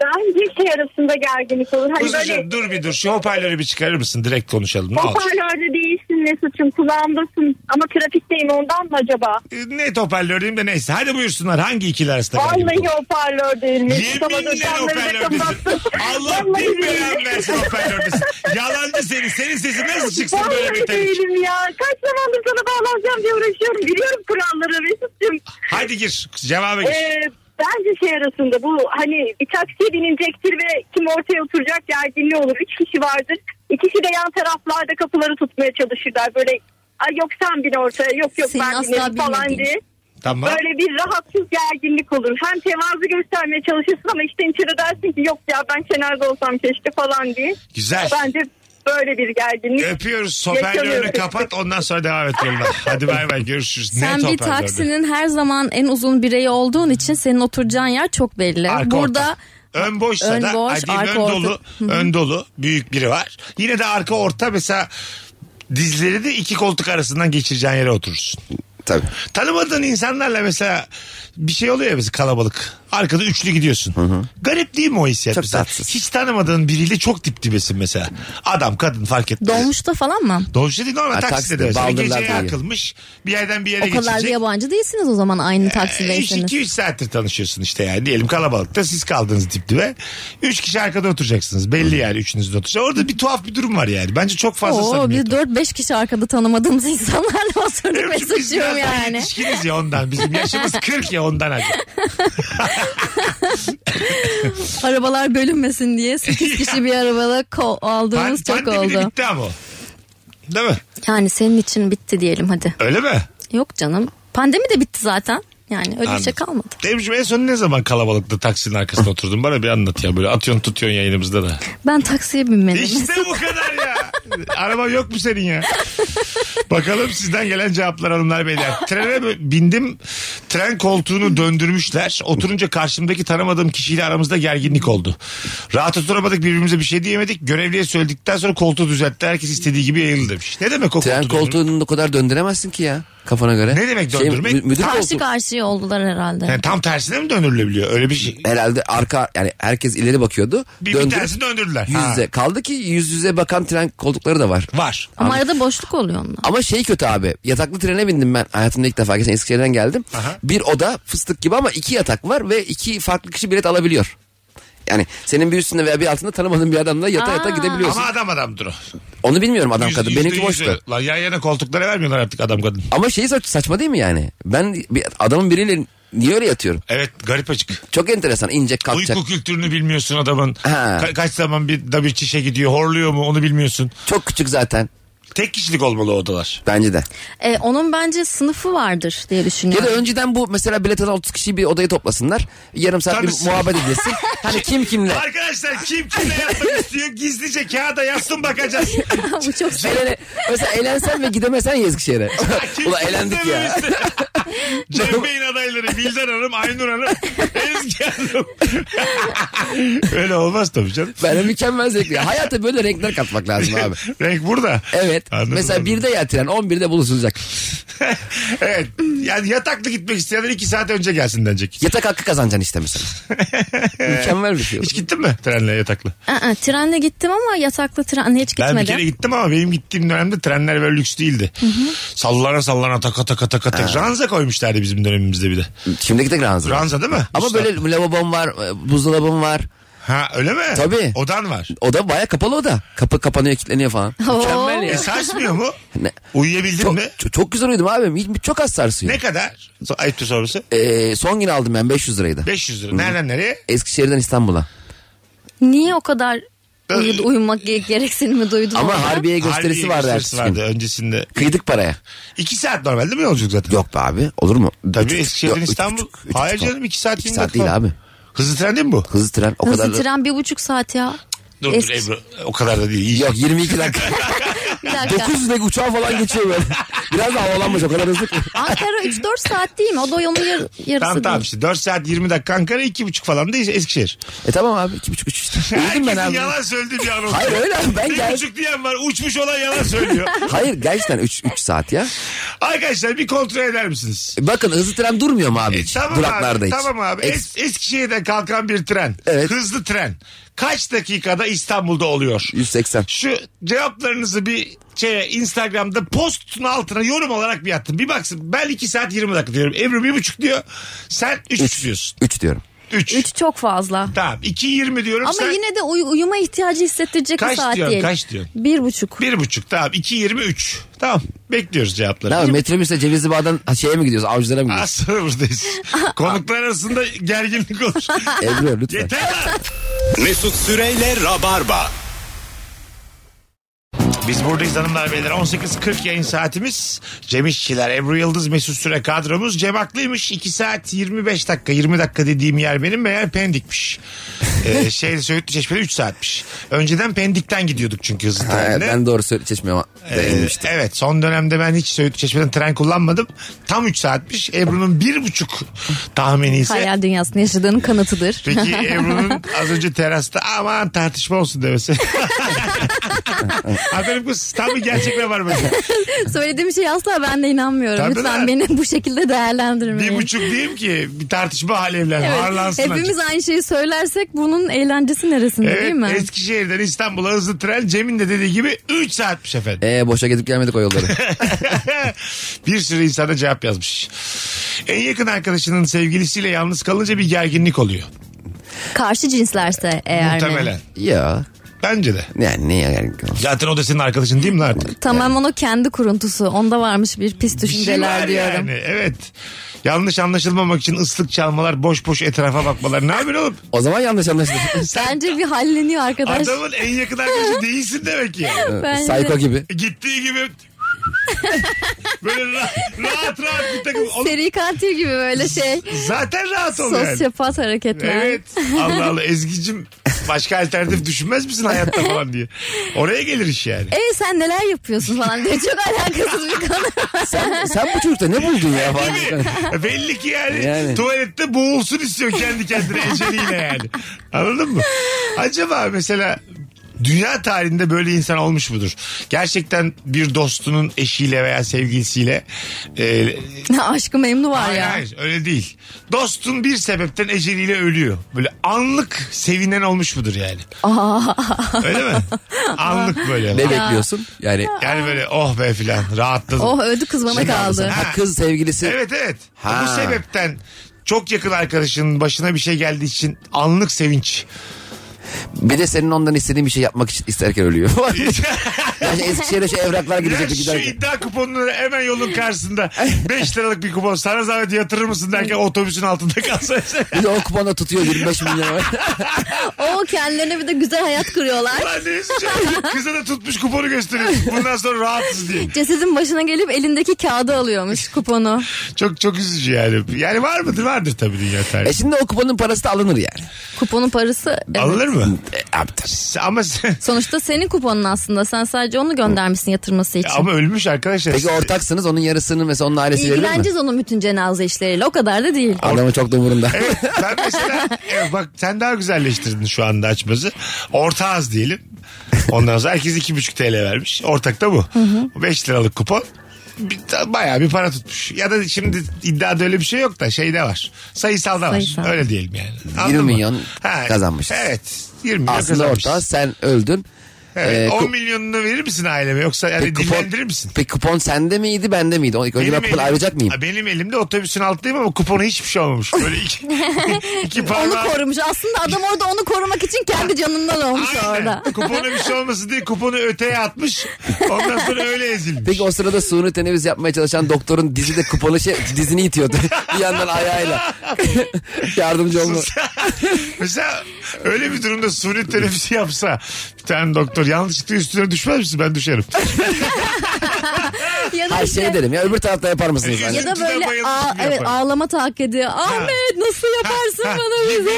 Speaker 7: bence şey arasında gerginlik olur. Hani
Speaker 3: kuzucuğum
Speaker 7: böyle
Speaker 3: dur bir dur. Şu hoparlörü bir çıkarır mısın? Direkt konuşalım. Ne olur.
Speaker 7: hoparlörde değilsin Mesut'cum kulağımdasın ama trafikteyim ondan mı acaba?
Speaker 3: Ne hoparlörüyüm de neyse. Hadi buyursunlar. Hangi ikili arasında?
Speaker 7: Vallahi hoparlör değil Mesut ama
Speaker 3: Yeminle
Speaker 7: dışarıları da kapattın.
Speaker 3: hoparlördesin. Allah
Speaker 7: Vallahi
Speaker 3: bir
Speaker 7: değilim.
Speaker 3: belanı versin hoparlördesin. Yalancı seni. Senin sesin nasıl çıksın böyle
Speaker 7: Vallahi
Speaker 3: bir şey. tane?
Speaker 7: değilim ya. Kaç zamandır sana bağlanacağım diye uğraşıyorum. Biliyorum kuralları Mesut'cum.
Speaker 3: Hadi gir. Cevaba gir.
Speaker 7: Ee, bence şey arasında bu hani bir taksiye binilecektir ve kim ortaya oturacak gerginliği olur. Üç kişi vardır. İkisi de yan taraflarda kapıları tutmaya çalışırlar. Böyle ay yok sen bin ortaya yok yok
Speaker 5: Senin
Speaker 7: ben
Speaker 5: asla
Speaker 7: binerim falan
Speaker 5: bilmediğin.
Speaker 7: diye.
Speaker 3: tamam.
Speaker 7: Böyle bir rahatsız gerginlik olur. Hem tevazu göstermeye çalışırsın ama işte içeri dersin ki yok ya ben kenarda olsam keşke falan diye.
Speaker 3: Güzel.
Speaker 7: Bence böyle bir gerginlik.
Speaker 3: Öpüyoruz.
Speaker 7: Yaşamıyorum.
Speaker 3: Hoparlörünü kapat ondan sonra devam et yoluna. Hadi bay bay görüşürüz. Net
Speaker 5: Sen bir
Speaker 3: hoparlörde.
Speaker 5: taksinin her zaman en uzun bireyi olduğun için senin oturacağın yer çok belli.
Speaker 3: Arka
Speaker 5: Burada
Speaker 3: orta. Ön boşsa
Speaker 5: Ön
Speaker 3: da
Speaker 5: boş,
Speaker 3: hadi diyeyim,
Speaker 5: arka
Speaker 3: ön
Speaker 5: orta.
Speaker 3: dolu, ön dolu büyük biri var. Yine de arka orta mesela dizleri de iki koltuk arasından geçireceğin yere oturursun.
Speaker 4: Tabii.
Speaker 3: Tanımadığın insanlarla mesela bir şey oluyor ya mesela kalabalık. Arkada üçlü gidiyorsun. Garip değil mi o hissiyat?
Speaker 4: Çok
Speaker 3: mesela?
Speaker 4: tatsız.
Speaker 3: Hiç tanımadığın biriyle çok dip dibesin mesela. Adam kadın fark etmez.
Speaker 5: dolmuşta falan mı?
Speaker 3: Dolmuşta şey değil normal
Speaker 4: Ha,
Speaker 3: takside,
Speaker 4: takside,
Speaker 3: de mesela.
Speaker 4: baldırlar
Speaker 3: Geceye
Speaker 4: diyor.
Speaker 3: akılmış bir yerden bir yere
Speaker 5: O kadar da
Speaker 3: geçecek. E,
Speaker 5: yabancı değilsiniz o zaman aynı taksideyseniz.
Speaker 3: 2-3 saattir tanışıyorsun işte yani diyelim kalabalıkta siz kaldınız dip dibe. 3 kişi arkada oturacaksınız
Speaker 4: Hmm.
Speaker 3: belli yani üçünüz de oturacak. Orada bir tuhaf bir durum var yani. Bence çok fazla
Speaker 5: Oo,
Speaker 3: samimiyet
Speaker 5: biz 4-5 kişi arkada tanımadığımız insanlarla oturduk
Speaker 3: Çünkü biz biraz
Speaker 5: mesutçuyum
Speaker 3: daha
Speaker 5: yani.
Speaker 3: yetişkiniz ya ondan. Bizim yaşımız 40 ya ondan hadi.
Speaker 5: Arabalar bölünmesin diye 8 kişi bir arabada ko-
Speaker 3: Pan-
Speaker 5: aldığımız çok
Speaker 3: pandemi de
Speaker 5: oldu.
Speaker 3: bitti ama. o. Değil mi?
Speaker 5: Yani senin için bitti diyelim hadi.
Speaker 3: Öyle mi?
Speaker 5: Yok canım. Pandemi de bitti zaten. Yani öyle bir
Speaker 3: Anladım.
Speaker 5: şey kalmadı.
Speaker 3: Demişim en son ne zaman kalabalıkta taksinin arkasına oturdun? Bana bir anlat ya böyle atıyorsun tutuyorsun yayınımızda da.
Speaker 5: Ben taksiye binmedim.
Speaker 3: İşte bu kadar ya. Araba yok mu senin ya? Bakalım sizden gelen cevaplar hanımlar beyler. Trene bö- bindim. Tren koltuğunu döndürmüşler. Oturunca karşımdaki tanımadığım kişiyle aramızda gerginlik oldu. Rahat oturamadık birbirimize bir şey diyemedik. Görevliye söyledikten sonra koltuğu düzeltti. Herkes istediği gibi yayıldı demiş. Ne demek o
Speaker 4: Tren
Speaker 3: koltuğu döndürmek?
Speaker 4: koltuğunu o kadar döndüremezsin ki ya kafana göre.
Speaker 3: Ne demek
Speaker 4: Şey,
Speaker 3: döndürmek?
Speaker 4: mü- müdür
Speaker 5: Karşı
Speaker 4: koltuğu.
Speaker 5: karşıya oldular herhalde.
Speaker 3: Yani tam tersine mi döndürülebiliyor? Öyle bir şey.
Speaker 4: Herhalde arka yani herkes ileri bakıyordu.
Speaker 3: Bir, bir
Speaker 4: Döndürüp
Speaker 3: tersini döndürdüler.
Speaker 4: yüz
Speaker 3: Ha.
Speaker 4: yüze. Kaldı ki yüz yüze bakan tren koltukları da var.
Speaker 3: Var.
Speaker 5: Ama arada boşluk oluyor onunla.
Speaker 4: Ama şey kötü abi. Yataklı trene bindim ben. Hayatımda ilk defa geçen Eskişehir'den geldim.
Speaker 3: Aha.
Speaker 4: Bir oda fıstık gibi ama iki yatak var ve iki farklı kişi bilet alabiliyor. Yani senin bir üstünde veya bir altında tanımadığın bir adamla yata yata
Speaker 5: Aa.
Speaker 4: gidebiliyorsun.
Speaker 3: Ama adam adamdır o.
Speaker 4: Onu bilmiyorum adam
Speaker 3: Yüz-
Speaker 4: kadın.
Speaker 3: yüzde
Speaker 4: Benimki
Speaker 3: yüzü.
Speaker 4: boştu.
Speaker 3: Lan yan yana koltuklara vermiyorlar artık adam kadın.
Speaker 4: Ama şeyi saç- saçma değil mi yani? Ben bir adamın biriyle niye öyle yatıyorum?
Speaker 3: Evet garip açık.
Speaker 4: Çok enteresan. inecek kalkacak.
Speaker 3: Uyku kültürünü bilmiyorsun adamın.
Speaker 4: Ha.
Speaker 3: Ka- kaç zaman bir da bir çişe gidiyor, horluyor mu onu bilmiyorsun.
Speaker 4: Çok küçük zaten.
Speaker 3: Tek kişilik olmalı o odalar.
Speaker 4: Bence de.
Speaker 5: E, onun bence sınıfı vardır diye
Speaker 4: Ya
Speaker 5: düşünüyorum.
Speaker 4: da önceden bu mesela bilet alan 30 kişiyi bir odaya toplasınlar. Yarım saat
Speaker 3: Tanısın.
Speaker 4: bir muhabbet edilsin. hani kim kimle.
Speaker 3: Arkadaşlar kim kimle yapmak istiyor gizlice kağıda yazsın bakacağız.
Speaker 5: Bu çok
Speaker 4: Eğlen- mesela eğlensen ve gidemesen ya Eskişehir'e.
Speaker 3: Kim
Speaker 4: Ulan eğlendik ya.
Speaker 3: kimle Cem Bey'in adayları Bildan Hanım, Aynur Hanım, Ezgi Hanım. Öyle olmaz tabii canım.
Speaker 4: Ben mükemmel zevkli. Hayata böyle renkler katmak lazım abi.
Speaker 3: Renk burada.
Speaker 4: Evet.
Speaker 3: Anladım,
Speaker 4: Mesela
Speaker 3: anladım.
Speaker 4: birde ya tren 11'de buluşulacak.
Speaker 3: evet. Yani yataklı gitmek isteyenler iki saat önce gelsin denecek.
Speaker 4: Yatak hakkı kazanacaksın işte mesela. mükemmel bir şey.
Speaker 3: Hiç gittin mi trenle yataklı?
Speaker 5: Aa, trenle gittim ama yataklı trenle hiç
Speaker 3: Ben bir
Speaker 5: gitmedim.
Speaker 3: kere gittim ama benim gittiğim dönemde trenler böyle lüks değildi. Sallana sallana taka taka taka taka. Ranza koymuşlardı bizim dönemimizde bir de.
Speaker 4: Şimdi gidecek ranzı.
Speaker 3: Ranza değil mi?
Speaker 4: Ama
Speaker 3: Usta.
Speaker 4: böyle lavabom var, e, buzdolabım var.
Speaker 3: Ha öyle mi?
Speaker 4: Tabii.
Speaker 3: Odan var.
Speaker 4: Oda baya kapalı oda. Kapı kapanıyor, kilitleniyor falan.
Speaker 5: Oo.
Speaker 4: Mükemmel ya.
Speaker 3: E sarsmıyor mu?
Speaker 4: Ne?
Speaker 3: Uyuyabildin
Speaker 4: Çok,
Speaker 3: mi?
Speaker 4: çok- çok güzel uyudum abim. Hiç- Çok az sarsıyor.
Speaker 3: Ne kadar? So- Ayıptır sorusu.
Speaker 4: Ee, son gün aldım ben 500 liraydı.
Speaker 3: 500 lira. Nereden nereye?
Speaker 4: Eskişehir'den İstanbul'a.
Speaker 5: Niye o kadar uyud- uyumak ge- gereksinimi duydun?
Speaker 4: Ama
Speaker 5: orada?
Speaker 4: Harbiye gösterisi
Speaker 3: Harbiye
Speaker 4: vardı
Speaker 3: gösterisi
Speaker 4: ertesi gün.
Speaker 3: vardı öncesinde.
Speaker 4: Kıydık paraya.
Speaker 3: 2 saat normal değil mi yolculuk zaten?
Speaker 4: Yok be abi olur mu?
Speaker 3: Tabii
Speaker 4: Üç buçuk-
Speaker 3: Eskişehir'den
Speaker 4: yok, üç
Speaker 3: İstanbul.
Speaker 4: buçuk- üç
Speaker 3: Hayır
Speaker 4: buçuk-
Speaker 3: canım 2 saat.
Speaker 4: İki
Speaker 3: 20
Speaker 4: saat
Speaker 3: dakika
Speaker 4: değil
Speaker 3: var.
Speaker 4: abi.
Speaker 3: Hızlı tren değil mi bu?
Speaker 4: Hızlı tren o kadar
Speaker 5: Hızlı
Speaker 4: da...
Speaker 5: tren bir buçuk saat ya.
Speaker 3: Dur dur
Speaker 5: Eski-
Speaker 3: Ebru. O kadar da değil. İyi.
Speaker 4: Yok 22 dakika.
Speaker 5: Bir dakika.
Speaker 4: 900 dakika uçağa falan geçiyor böyle. Biraz da havalanmış o kadar hızlı. ki.
Speaker 5: Ankara 3-4 saat değil mi? O da yolun yar- yarısı
Speaker 3: Tamam
Speaker 5: değil.
Speaker 3: tamam işte 4 saat 20 dakika Ankara 2,5 falan da Eskişehir.
Speaker 4: E tamam abi 2,5 3 işte. Uyudum ben
Speaker 3: Herkesin
Speaker 4: abi.
Speaker 3: yalan söylediği bir anons.
Speaker 4: Hayır öyle abi ben
Speaker 3: Bir
Speaker 4: gel...
Speaker 3: buçuk diyen var uçmuş olan yalan söylüyor.
Speaker 4: Hayır gerçekten 3 3 saat ya.
Speaker 3: Arkadaşlar bir kontrol eder misiniz?
Speaker 4: E Bakın hızlı tren durmuyor mu abi
Speaker 3: E,
Speaker 4: hiç?
Speaker 3: tamam
Speaker 4: Duraklarda
Speaker 3: abi,
Speaker 4: hiç.
Speaker 3: Tamam abi.
Speaker 4: Eks-
Speaker 3: Es- Eskişehir'den kalkan bir tren.
Speaker 4: Evet.
Speaker 3: Hızlı tren. Kaç dakikada İstanbul'da oluyor?
Speaker 4: 180.
Speaker 3: Şu cevaplarınızı bir şey Instagram'da postun altına yorum olarak bir attım. Bir baksın ben 2 saat 20 dakika diyorum. Ebru 1,5 diyor. Sen 3 diyorsun.
Speaker 4: 3 diyorum.
Speaker 3: 3.
Speaker 5: 3 çok fazla.
Speaker 3: Tamam 2,20 diyorum.
Speaker 5: Ama
Speaker 3: sen...
Speaker 5: yine de uy- uyuma ihtiyacı hissettirecek
Speaker 3: Kaç
Speaker 5: bir saat
Speaker 3: diyorsun,
Speaker 5: değil.
Speaker 3: kaç diyorsun?
Speaker 5: Bir buçuk.
Speaker 3: Bir buçuk tamam. İki yirmi üç. Tamam. Bekliyoruz cevapları.
Speaker 4: Ne abi metrobüsle Cevizli Bağ'dan ha, şeye mi gidiyoruz? Avcılara mı
Speaker 3: Az
Speaker 4: gidiyoruz?
Speaker 3: sonra buradayız. Konuklar arasında gerginlik olur.
Speaker 4: Ebru lütfen.
Speaker 3: Yeter lan.
Speaker 2: Mesut Süreyle Rabarba.
Speaker 3: Biz buradayız hanımlar beyler. 18.40 yayın saatimiz. Cem İşçiler, Ebru Yıldız, Mesut Süre kadromuz. Cem haklıymış. 2 saat 25 dakika, 20 dakika dediğim yer benim meğer Pendik'miş. ee, şey Söğütlü Çeşme'de 3 saatmiş. Önceden Pendik'ten gidiyorduk çünkü hızlı
Speaker 4: Ha, evet,
Speaker 3: trenle.
Speaker 4: ben doğru söyle çeşmiyorum.
Speaker 3: Ee, evet son dönemde ben hiç Söğütlü Çeşme'den tren kullanmadım. Tam 3 saatmiş. Ebru'nun 1,5 tahmini ise.
Speaker 5: Hayal dünyasını yaşadığının kanıtıdır.
Speaker 3: Peki Ebru'nun az önce terasta aman tartışma olsun demesi. Aferin kız tam bir gerçekle var böyle.
Speaker 5: Söylediğim şey asla ben de inanmıyorum.
Speaker 3: Tabii
Speaker 5: Lütfen
Speaker 3: lan.
Speaker 5: beni bu şekilde değerlendirmeyin.
Speaker 3: Bir buçuk diyeyim ki bir tartışma alevlenme
Speaker 5: Evet.
Speaker 3: harlansın.
Speaker 5: Hepimiz
Speaker 3: azıcık.
Speaker 5: aynı şeyi söylersek bunun eğlencesi neresinde
Speaker 3: Evet,
Speaker 5: değil mi?
Speaker 3: Eskişehir'den İstanbul'a hızlı tren Cem'in de dediği gibi 3 saatmiş efendim.
Speaker 4: Ee, boşa gidip gelmedik o yolları.
Speaker 3: bir sürü insana cevap yazmış. En yakın arkadaşının sevgilisiyle yalnız kalınca bir gerginlik oluyor.
Speaker 5: Karşı cinslerse eğer mi?
Speaker 3: Muhtemelen.
Speaker 4: ya
Speaker 3: Bence de.
Speaker 4: yani ne ya yani.
Speaker 3: Zaten o da senin arkadaşın değil mi lan artık?
Speaker 5: Tamam onu kendi kuruntusu. Onda varmış bir pis düşünceler
Speaker 3: şey var
Speaker 5: diyorum.
Speaker 3: Yani, evet. Yanlış anlaşılmamak için ıslık çalmalar, boş boş etrafa bakmalar. Ne yapıyorsun oğlum?
Speaker 4: O zaman yanlış anlaşıldı.
Speaker 5: Bence bir halleniyor arkadaş.
Speaker 3: Adamın en yakın arkadaşı değilsin demek ki. yani.
Speaker 5: Bence.
Speaker 4: Psycho gibi.
Speaker 3: Gittiği gibi böyle ra- rahat rahat bir takım. Oğlum,
Speaker 5: Seri katil gibi böyle şey.
Speaker 3: zaten rahat ol yani.
Speaker 5: Sosyopat hareketler.
Speaker 3: Evet. Allah Allah Ezgi'cim başka alternatif düşünmez misin hayatta falan diye. Oraya gelir iş yani.
Speaker 5: E sen neler yapıyorsun falan diye çok alakasız bir konu.
Speaker 4: Sen, sen bu çocukta ne buldun ya falan.
Speaker 3: Belli ki yani,
Speaker 4: Yani.
Speaker 3: tuvalette boğulsun istiyor kendi kendine eceliyle yani. Anladın mı? Acaba mesela dünya tarihinde böyle insan olmuş mudur? Gerçekten bir dostunun eşiyle veya sevgilisiyle e,
Speaker 5: Aşkı memnu var
Speaker 3: Hayır,
Speaker 5: ya.
Speaker 3: hayır öyle değil. Dostun bir sebepten eceliyle ölüyor. Böyle anlık sevinen olmuş mudur yani? öyle mi? Anlık böyle.
Speaker 4: Ne bekliyorsun? Yani
Speaker 3: Yani böyle oh be filan rahatladım.
Speaker 5: Oh öldü kız bana kaldı.
Speaker 4: ha, kız sevgilisi.
Speaker 3: Evet evet.
Speaker 4: Ha.
Speaker 3: Bu sebepten çok yakın arkadaşının başına bir şey geldiği için anlık sevinç.
Speaker 4: Bir de senin ondan istediğin bir şey yapmak için isterken ölüyor. yani Eskişehir'e şu evraklar
Speaker 3: Ya şey-
Speaker 4: gidecekti
Speaker 3: şu
Speaker 4: giderken.
Speaker 3: iddia kuponları hemen yolun karşısında 5 liralık bir kupon sana zahmet yatırır mısın derken otobüsün altında kalsa.
Speaker 4: Bir de o kupona tutuyor 25 milyon.
Speaker 5: O kendilerine bir de güzel hayat kuruyorlar.
Speaker 3: Lan ne üzücü. Kıza da tutmuş kuponu gösteriyor. Bundan sonra rahatsız diye.
Speaker 5: Cesedin başına gelip elindeki kağıdı alıyormuş kuponu.
Speaker 3: Çok çok üzücü yani. Yani var mıdır? Vardır tabii dünya
Speaker 4: e
Speaker 3: tarihi.
Speaker 4: şimdi o kuponun parası da alınır yani.
Speaker 5: Kuponun parası. evet.
Speaker 3: Alınır mı?
Speaker 4: E, yaptım.
Speaker 3: Ama
Speaker 5: Sonuçta senin kuponun aslında. Sen sadece onu göndermişsin yatırması için.
Speaker 3: ama ölmüş arkadaşlar.
Speaker 4: Peki ortaksınız onun yarısını mesela onun ailesi verir mi?
Speaker 5: İlgileneceğiz onun bütün cenaze işleriyle. O kadar da değil.
Speaker 4: Adamı çok da umurunda.
Speaker 3: Evet, ben mesela evet, bak sen daha güzelleştirdin şu anda açmazı. Orta az diyelim. Ondan sonra herkes 2,5 TL vermiş. Ortak da bu. 5 liralık kupon. Bir, ta- bayağı bir para tutmuş. Ya da şimdi iddiada öyle bir şey yok da şeyde var. Sayısal da var.
Speaker 5: Sayısal.
Speaker 3: Öyle diyelim yani. Anladın
Speaker 4: 20
Speaker 3: mı?
Speaker 4: milyon kazanmışız.
Speaker 3: Evet. 20 milyon
Speaker 4: Aslında
Speaker 3: kazanmışız.
Speaker 4: ortağı sen öldün.
Speaker 3: Evet,
Speaker 4: Ee, ku-
Speaker 3: 10 milyonunu verir misin aileme yoksa yani
Speaker 4: peki
Speaker 3: Hani dinlendirir misin?
Speaker 4: Peki kupon sende miydi bende miydi? O- İlk önce ben kupon
Speaker 3: elim-
Speaker 4: ayıracak mıyım?
Speaker 3: Ha, Benim elimde otobüsün altındayım ama kupona hiçbir şey olmamış. Böyle iki, iki
Speaker 5: Onu
Speaker 3: parmağım-
Speaker 5: korumuş. Aslında adam orada onu korumak için kendi canından olmuş orada.
Speaker 3: Kupona bir şey olmasın diye kuponu öteye atmış. Ondan sonra öyle ezilmiş.
Speaker 4: Peki o sırada suni teneffüs yapmaya çalışan doktorun dizi de kuponu şey, dizini itiyordu. bir yandan ayağıyla. Yardımcı olma.
Speaker 3: Mesela öyle bir durumda suni teneffüsü yapsa bir tane doktor yanlışlıkla üstüne düşmez misin? Ben düşerim.
Speaker 5: Ya da
Speaker 4: Her
Speaker 5: işte-
Speaker 4: şey derim ya öbür tarafta yapar mısınız?
Speaker 3: Ya
Speaker 4: Hani?
Speaker 5: Ya da
Speaker 3: Üzüntüden
Speaker 5: böyle
Speaker 3: bayılırsın
Speaker 5: "Aa,
Speaker 3: yaparım.
Speaker 5: evet, ağlama taklidi. Ahmet nasıl yaparsın
Speaker 3: Ha,
Speaker 5: bana
Speaker 3: gibi
Speaker 5: bize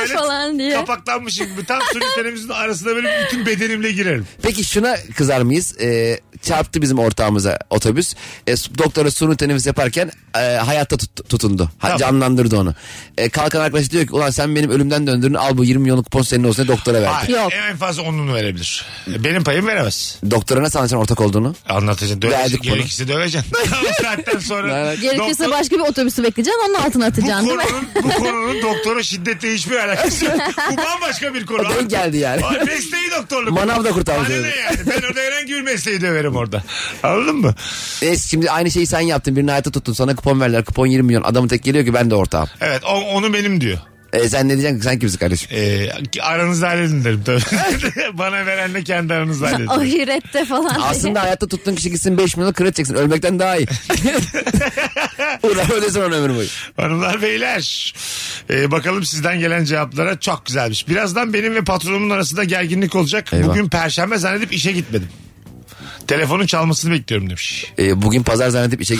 Speaker 3: böyle
Speaker 5: falan diye.
Speaker 3: Kapaklanmışım gibi. Tam suni teneffüsün arasına böyle bütün bedenimle girerim.
Speaker 4: Peki şuna kızar mıyız? Ee, çarptı bizim ortağımıza otobüs. Ee, su- doktora suni teneffüs yaparken e, hayatta tut- tutundu. Ha-
Speaker 3: Tamam.
Speaker 4: Canlandırdı onu. Ee, kalkan arkadaş diyor ki ulan sen benim ölümden döndürdün al bu 20 milyonluk kupon senin olsun diye doktora verdi.
Speaker 3: Hayır,
Speaker 5: Yok.
Speaker 3: En fazla onunu verebilir. Benim payım veremez.
Speaker 4: Doktora nasıl anlatacaksın ortak olduğunu?
Speaker 3: Anlatacaksın.
Speaker 4: Verdik
Speaker 3: Döveceksin.
Speaker 4: bunu.
Speaker 3: Gerekirse döveceksin. o saatten sonra.
Speaker 4: Evet.
Speaker 5: Gerekirse
Speaker 3: doktor-
Speaker 5: başka bir otobüsü bekleyeceksin onun altına
Speaker 3: Bu
Speaker 5: atacaksın değil mi?
Speaker 3: konunun, bu konunun doktora şiddetle hiçbir alakası yok. Bu bambaşka bir konu.
Speaker 4: Denk geldi yani.
Speaker 3: Aa, Mesleği doktorluk.
Speaker 4: Manav da kurtarmış
Speaker 3: Bana
Speaker 4: öyle.
Speaker 3: ne yani? Ben orada herhangi bir mesleği döverim orada. Anladın mı?
Speaker 4: Neyse E, şimdi aynı şeyi sen yaptın. Birini hayata tuttun. Sana kupon verdiler. Kupon 20 milyon. Adamın tek geliyor ki ben de ortağım.
Speaker 3: Evet o- onu benim diyor.
Speaker 4: Ee, sen ne diyeceksin ki? Sen kimsin kardeşim?
Speaker 3: Ee, aranızda halledin derim tabii. Bana verenle kendi aranızda halledin.
Speaker 5: Ahirette falan.
Speaker 4: Aslında hayatta tuttuğun kişi gitsin 5 milyon kredi çeksin. Ölmekten daha iyi. Ulan öylesin onu ömür boyu.
Speaker 3: Hanımlar beyler. Ee, bakalım sizden gelen cevaplara çok güzelmiş. Birazdan benim ve patronumun arasında gerginlik olacak.
Speaker 4: Eyvah.
Speaker 3: Bugün perşembe zannedip işe gitmedim. Telefonun çalmasını bekliyorum demiş.
Speaker 4: Ee, bugün pazar zannedip işe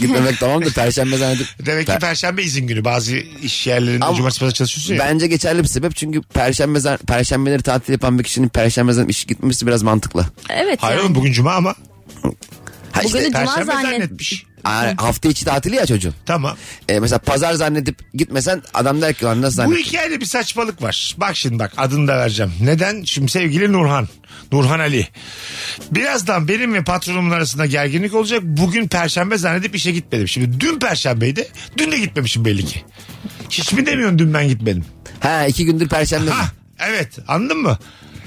Speaker 4: gitmemek tamamdır. Perşembe zannedip.
Speaker 3: Demek ki
Speaker 4: Per-
Speaker 3: perşembe izin günü. Bazı iş yerlerinde
Speaker 4: Ama-
Speaker 3: cumartesi pazar çalışıyorsun ya.
Speaker 4: Bence geçerli bir sebep çünkü perşembe zan- perşembeleri tatil yapan bir kişinin perşembe zannedip işe gitmesi biraz mantıklı.
Speaker 5: Evet.
Speaker 3: Hayır
Speaker 5: yani.
Speaker 3: oğlum bugün cuma ama.
Speaker 4: Ha
Speaker 5: Bugün
Speaker 4: işte,
Speaker 5: de- Cuma
Speaker 3: Perşembe
Speaker 5: zannet-
Speaker 3: zannetmiş.
Speaker 4: Aa, hafta içi tatili ya çocuğun.
Speaker 3: Tamam.
Speaker 4: Ee, mesela pazar zannedip gitmesen adam der ki lan nasıl
Speaker 3: Bu
Speaker 4: zannettin?
Speaker 3: hikayede bir saçmalık var. Bak şimdi bak adını da vereceğim. Neden? Şimdi sevgili Nurhan. Nurhan Ali. Birazdan benim ve patronumun arasında gerginlik olacak. Bugün perşembe zannedip işe gitmedim. Şimdi dün perşembeydi. Dün de gitmemişim belli ki. Hiç mi demiyorsun dün ben gitmedim?
Speaker 4: Ha iki gündür perşembe.
Speaker 3: Ha evet anladın mı?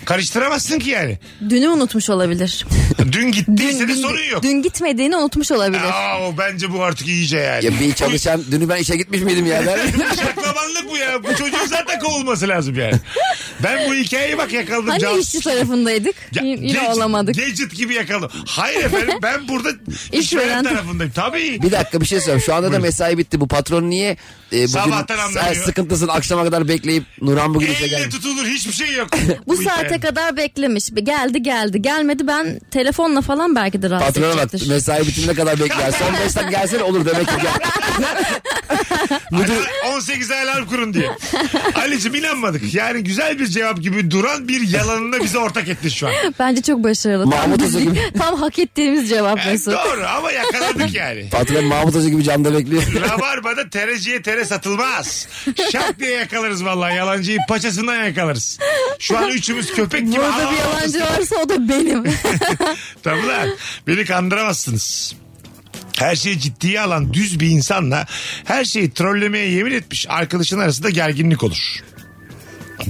Speaker 3: Karıştıramazsın ki yani.
Speaker 5: Dünü unutmuş olabilir.
Speaker 3: Dün gittiyse de
Speaker 5: dün,
Speaker 3: sorun yok.
Speaker 5: Dün gitmediğini unutmuş olabilir.
Speaker 3: Aa, o bence bu artık iyice yani.
Speaker 4: Ya bir çalışan dünü ben işe gitmiş miydim ya der.
Speaker 3: Bu Şaklabanlık bu ya. Bu çocuğun zaten kovulması lazım yani. Ben bu hikayeyi bak yakaladım.
Speaker 5: Hani
Speaker 3: Can-
Speaker 5: işçi tarafındaydık.
Speaker 3: Ya,
Speaker 5: Y- Yine
Speaker 3: gadget-
Speaker 5: olamadık.
Speaker 3: Gadget gibi yakaladım. Hayır efendim ben burada işveren
Speaker 5: İşveren-
Speaker 3: tarafındayım. Tabii.
Speaker 4: Bir dakika bir şey söyleyeyim. Şu anda da mesai bitti. Bu patron niye e, bugün
Speaker 3: Sabahtan anlamıyor.
Speaker 4: sen sıkıntısın akşama kadar bekleyip Nurhan bugün işe
Speaker 3: Elle
Speaker 4: gelmiş.
Speaker 3: tutulur hiçbir şey yok.
Speaker 5: Bu saate
Speaker 3: hikayenin.
Speaker 5: kadar beklemiş. Geldi geldi. Gelmedi ben telefonla falan belki de rahatsız
Speaker 4: Patrona bak
Speaker 5: edecektir.
Speaker 4: mesai bitimine kadar bekler. Son 5 dakika gelsene olur demek ki. Gel. Müdür,
Speaker 3: Alo, 18 alarm kurun diye. Ali'cim inanmadık. Yani güzel bir cevap gibi duran bir yalanına bize ortak etti şu an.
Speaker 5: Bence çok başarılı.
Speaker 4: Mahmut
Speaker 5: tam,
Speaker 4: Hoca
Speaker 5: bizim-
Speaker 4: gibi.
Speaker 5: tam hak ettiğimiz cevap
Speaker 3: Yani
Speaker 5: Mesut.
Speaker 3: doğru ama yakaladık yani.
Speaker 4: patron Mahmut Hoca gibi camda bekliyor.
Speaker 3: Rabarba'da tereciye tere satılmaz. Şak diye yakalarız vallahi yalancıyı paçasından yakalarız. Şu an üçümüz köpek gibi.
Speaker 5: Burada bir
Speaker 3: Aa,
Speaker 5: yalancı varsa o da benim.
Speaker 3: Tabii lan. Beni kandıramazsınız. Her şeyi ciddiye alan düz bir insanla her şeyi trollemeye yemin etmiş arkadaşın arasında gerginlik olur.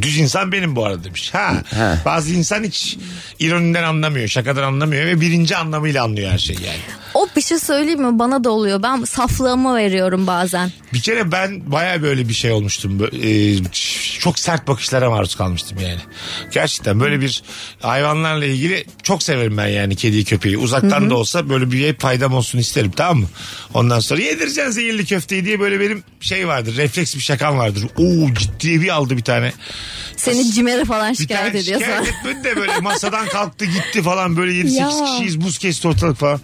Speaker 3: Düz insan benim bu arada demiş. Ha,
Speaker 4: Ha.
Speaker 3: Bazı insan hiç ironiden anlamıyor, şakadan anlamıyor ve birinci anlamıyla anlıyor her şeyi yani.
Speaker 5: o bir şey söyleyeyim mi? Bana da oluyor. Ben saflığımı veriyorum bazen.
Speaker 3: Bir kere ben baya böyle bir şey olmuştum. Bö- e, ç- çok sert bakışlara maruz kalmıştım yani. Gerçekten böyle bir hayvanlarla ilgili çok severim ben yani kediyi köpeği. Uzaktan da olsa böyle bir faydam olsun isterim tamam mı? Ondan sonra yedireceksin zehirli köfteyi diye böyle benim şey vardır. Refleks bir şakam vardır. Oo ciddiye bir aldı bir tane.
Speaker 5: Seni cimere falan
Speaker 3: Bir
Speaker 5: şikayet
Speaker 3: tane
Speaker 5: ediyorsa.
Speaker 3: şikayet etmedi de böyle masadan kalktı gitti falan böyle 7-8
Speaker 5: Ya.
Speaker 3: kişiyiz buz kesti ortalık falan.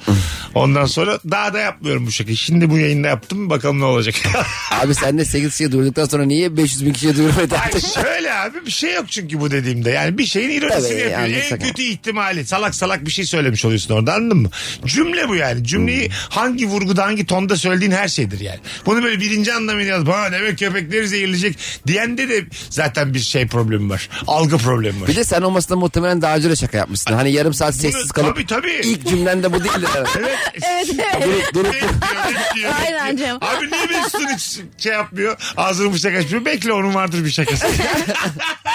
Speaker 3: Ondan sonra daha da yapmıyorum bu şakayı. Şimdi bu yayında yaptım bakalım ne olacak.
Speaker 4: Abi sen de 8 kişiye durduktan sonra niye 500 bin kişiye duyurmayı
Speaker 3: Yani şöyle abi bir şey yok çünkü bu dediğimde. Yani bir şeyin ironisini
Speaker 4: Tabii,
Speaker 3: yapıyor.
Speaker 4: yani
Speaker 3: en
Speaker 4: sakın.
Speaker 3: kötü ihtimali. Salak salak bir şey söylemiş oluyorsun orada anladın mı? Cümle bu yani.
Speaker 4: Hmm.
Speaker 3: Cümleyi hangi vurguda hangi tonda söylediğin her şeydir yani. Bunu böyle birinci anlamıyla yazıp ha demek köpekleri zehirleyecek diyende de zaten bir şey problemi var. Algı problemi var.
Speaker 4: Bir de sen olmasına muhtemelen daha önce de şaka yapmışsın. Hani yarım saat sessiz kalıp
Speaker 3: tabii, tabii.
Speaker 4: ilk cümlen de bu değil de.
Speaker 3: Evet.
Speaker 5: Evet
Speaker 4: durup
Speaker 5: evet.
Speaker 4: durup
Speaker 3: Bekliyor, bekliyor,
Speaker 5: Aynen
Speaker 3: bekliyor.
Speaker 5: Cem.
Speaker 3: Abi niye Mesut'un hiç şey yapmıyor? Ağzını bıçak açmıyor. Bekle onun vardır bir şakası.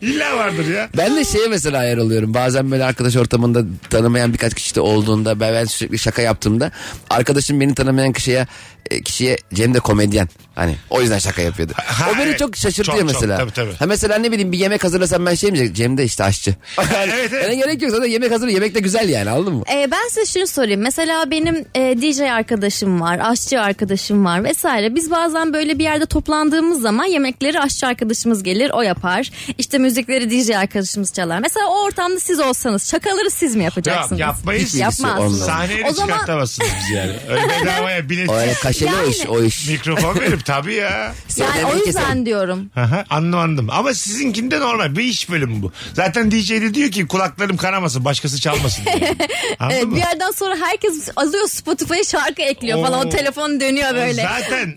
Speaker 3: İlla vardır ya.
Speaker 4: Ben de şeye mesela ayar oluyorum. Bazen böyle arkadaş ortamında tanımayan birkaç kişi de olduğunda ben, ben sürekli şaka yaptığımda arkadaşım beni tanımayan kişiye e, kişiye Cem de komedyen. Hani o yüzden şaka yapıyordu.
Speaker 3: Ha,
Speaker 4: o beni
Speaker 3: evet.
Speaker 4: çok şaşırtıyor
Speaker 3: Çok, çok,
Speaker 4: mesela.
Speaker 3: tabii, tabii.
Speaker 4: Ha mesela ne bileyim bir yemek hazırlasam ben şey mi diyecek? Cem de işte aşçı. Yani,
Speaker 3: evet.
Speaker 4: yani gerek yok zaten yemek hazır yemek de güzel yani anladın mı?
Speaker 5: Ee, ben size şunu sorayım. Mesela benim e, DJ arkadaşım var, aşçı arkadaşım var vesaire. Biz bazen böyle bir yerde toplandığımız zaman yemekleri aşçı arkadaşımız gelir, o yapar. İşte müzikleri DJ arkadaşımız çalar. Mesela o ortamda siz olsanız şakaları siz mi yapacaksınız?
Speaker 3: Yok, yapmayız.
Speaker 5: Yapmazsınız.
Speaker 4: Hiçbirisi
Speaker 3: Sahneye de
Speaker 5: O zaman-
Speaker 3: çıkartamazsınız bizi yani. Öyle bedavaya bilet
Speaker 4: O öyle kaşeli o iş
Speaker 5: Yani.
Speaker 4: o iş.
Speaker 3: mikrofon verip tabii ya.
Speaker 5: Yani o
Speaker 4: Söylemeyi keserim.
Speaker 5: yüzden diyorum.
Speaker 3: Aha, anladım anladım. Ama sizinkinde normal. Bir iş bölümü bu. Zaten DJ de diyor ki kulaklarım kanamasın başkası çalmasın. diyor. Anladın
Speaker 5: Ee,
Speaker 3: mı?
Speaker 5: bir yerden sonra herkes alıyor Spotify'a şarkı ekliyor falan.
Speaker 3: Oo.
Speaker 5: O telefon dönüyor böyle.
Speaker 3: Zaten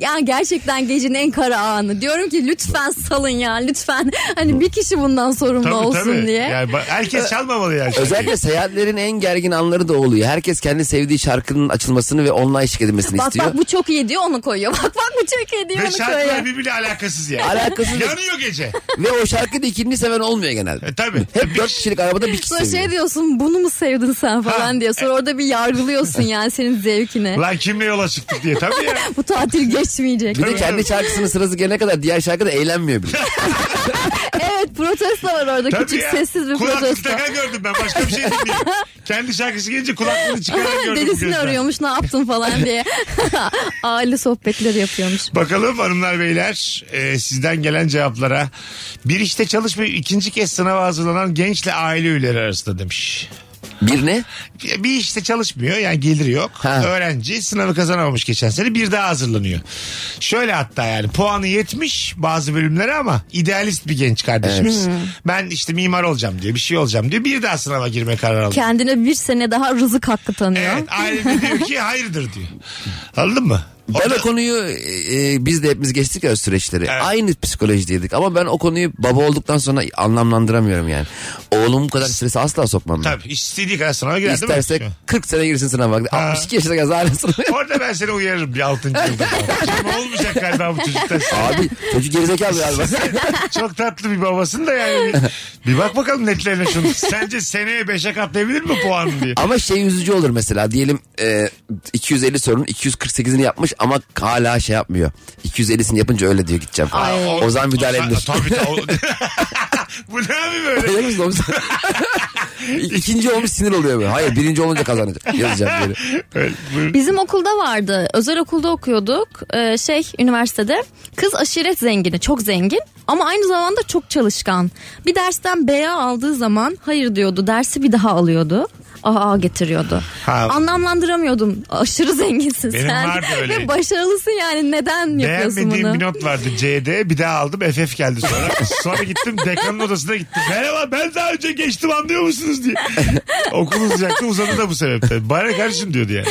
Speaker 5: ya gerçekten gecenin en kara anı. Diyorum ki lütfen salın ya lütfen. Hani bir kişi bundan sorumlu
Speaker 3: tabii
Speaker 5: olsun
Speaker 3: tabii.
Speaker 5: diye.
Speaker 3: Yani ba- herkes çalmamalı yani.
Speaker 4: Özellikle seyahatlerin en gergin anları da oluyor. Herkes kendi sevdiği şarkının açılmasını ve online eşlik edilmesini
Speaker 5: Bak
Speaker 4: istiyor.
Speaker 5: bak bu çok iyi diyor onu koyuyor. Bak bak bu çok iyi diyor
Speaker 3: Ve
Speaker 5: onu koyuyor.
Speaker 3: şarkılar birbiriyle alakasız yani.
Speaker 4: Alakasız.
Speaker 3: Yanıyor gece.
Speaker 4: Ve o şarkıyı da ikinci seven olmuyor genelde.
Speaker 3: E, tabii.
Speaker 4: Hep dört kişilik arabada bir kişi
Speaker 5: Sonra
Speaker 4: seviyor.
Speaker 5: şey diyorsun bunu mu sevdin sen falan diye. Sonra orada bir yargılıyorsun yani senin zevkine.
Speaker 3: Lan kimle yola çıktık diye tabii ya.
Speaker 5: bu tatil geçmeyecek.
Speaker 4: Bir de kendi şarkısının sırası gelene kadar diğer şarkı da eğlenmiyor bile.
Speaker 5: evet protesto var orada
Speaker 3: Tabii
Speaker 5: küçük
Speaker 3: ya.
Speaker 5: sessiz bir
Speaker 3: Kulaklık
Speaker 5: protesto.
Speaker 3: takan gördüm ben başka bir şey dinliyorum. Kendi şarkısı gelince kulaklığını çıkaran gördüm.
Speaker 5: Dedesini
Speaker 3: gözden.
Speaker 5: arıyormuş ne yaptın falan diye. Aile sohbetleri yapıyormuş.
Speaker 3: Bakalım hanımlar beyler e, sizden gelen cevaplara. Bir işte çalışmayıp ikinci kez sınava hazırlanan gençle aile üyeleri arasında demiş.
Speaker 4: Bir ne?
Speaker 3: Bir bir işte çalışmıyor yani geliri yok.
Speaker 4: Ha.
Speaker 3: Öğrenci sınavı kazanamamış geçen sene bir daha hazırlanıyor. Şöyle hatta yani puanı yetmiş bazı bölümlere ama idealist bir genç kardeşimiz. Hmm. Ben işte mimar olacağım diyor bir şey olacağım diyor bir daha sınava girme kararı aldı.
Speaker 5: Kendine bir sene daha rızık hakkı tanıyor.
Speaker 3: Evet aile de diyor ki hayırdır diyor. Anladın mı?
Speaker 4: Ben
Speaker 3: Orada-
Speaker 4: o konuyu e, e, biz de hepimiz geçtik ya o süreçleri.
Speaker 3: Evet.
Speaker 4: Aynı psikolojideydik ama ben o konuyu baba olduktan sonra anlamlandıramıyorum yani. Oğlum bu kadar strese asla sokmam ben.
Speaker 3: Tabii istediği kadar sınava girer değil mi?
Speaker 4: İsterse 40 sene girsin sınava. 62 yaşına kadar hala sınava.
Speaker 3: Orada ben seni uyarırım bir altıncı yılda. Şimdi olmayacak galiba bu çocukta.
Speaker 4: Abi çocuk gerizekalı galiba.
Speaker 3: Çok tatlı bir babasın da yani. Bir, bir bak bakalım netlerine şunu. Sence seneye beşe katlayabilir mi puanını diye.
Speaker 4: Ama şey üzücü olur mesela diyelim e, 250 sorunun 248'ini yapmış ama hala şey yapmıyor. 250'sini yapınca öyle diyor gideceğim.
Speaker 5: Ay.
Speaker 4: Ozan O zaman müdahale
Speaker 3: Ozan-
Speaker 4: edilir.
Speaker 3: Tabii tabii. O- bu ne abi böyle?
Speaker 4: Öyle misin oğlum sen? İkinci olmuş sinir oluyor böyle. Hayır birinci olunca kazanacak. Yazacağım böyle.
Speaker 3: Öyle, bu-
Speaker 5: Bizim okulda vardı. Özel okulda okuyorduk. Ee, şey üniversitede. Kız aşiret zengini. Çok zengin. Ama aynı zamanda çok çalışkan. Bir dersten B'ye aldığı zaman hayır diyordu. Dersi bir daha alıyordu. AA getiriyordu.
Speaker 3: Ha.
Speaker 5: Anlamlandıramıyordum. Aşırı zenginsin
Speaker 3: Benim
Speaker 5: sen.
Speaker 3: vardı öyle.
Speaker 5: Ve başarılısın yani. Neden yapıyorsun
Speaker 3: Beğenmediğim
Speaker 5: bunu?
Speaker 3: bir not vardı C'de bir daha aldım FF geldi sonra. sonra gittim dekanın odasına gittim. Merhaba ben daha önce geçtim anlıyor musunuz diye. Okul uzayacaktı uzadı da bu sebepten. Bana kardeşim diyordu yani.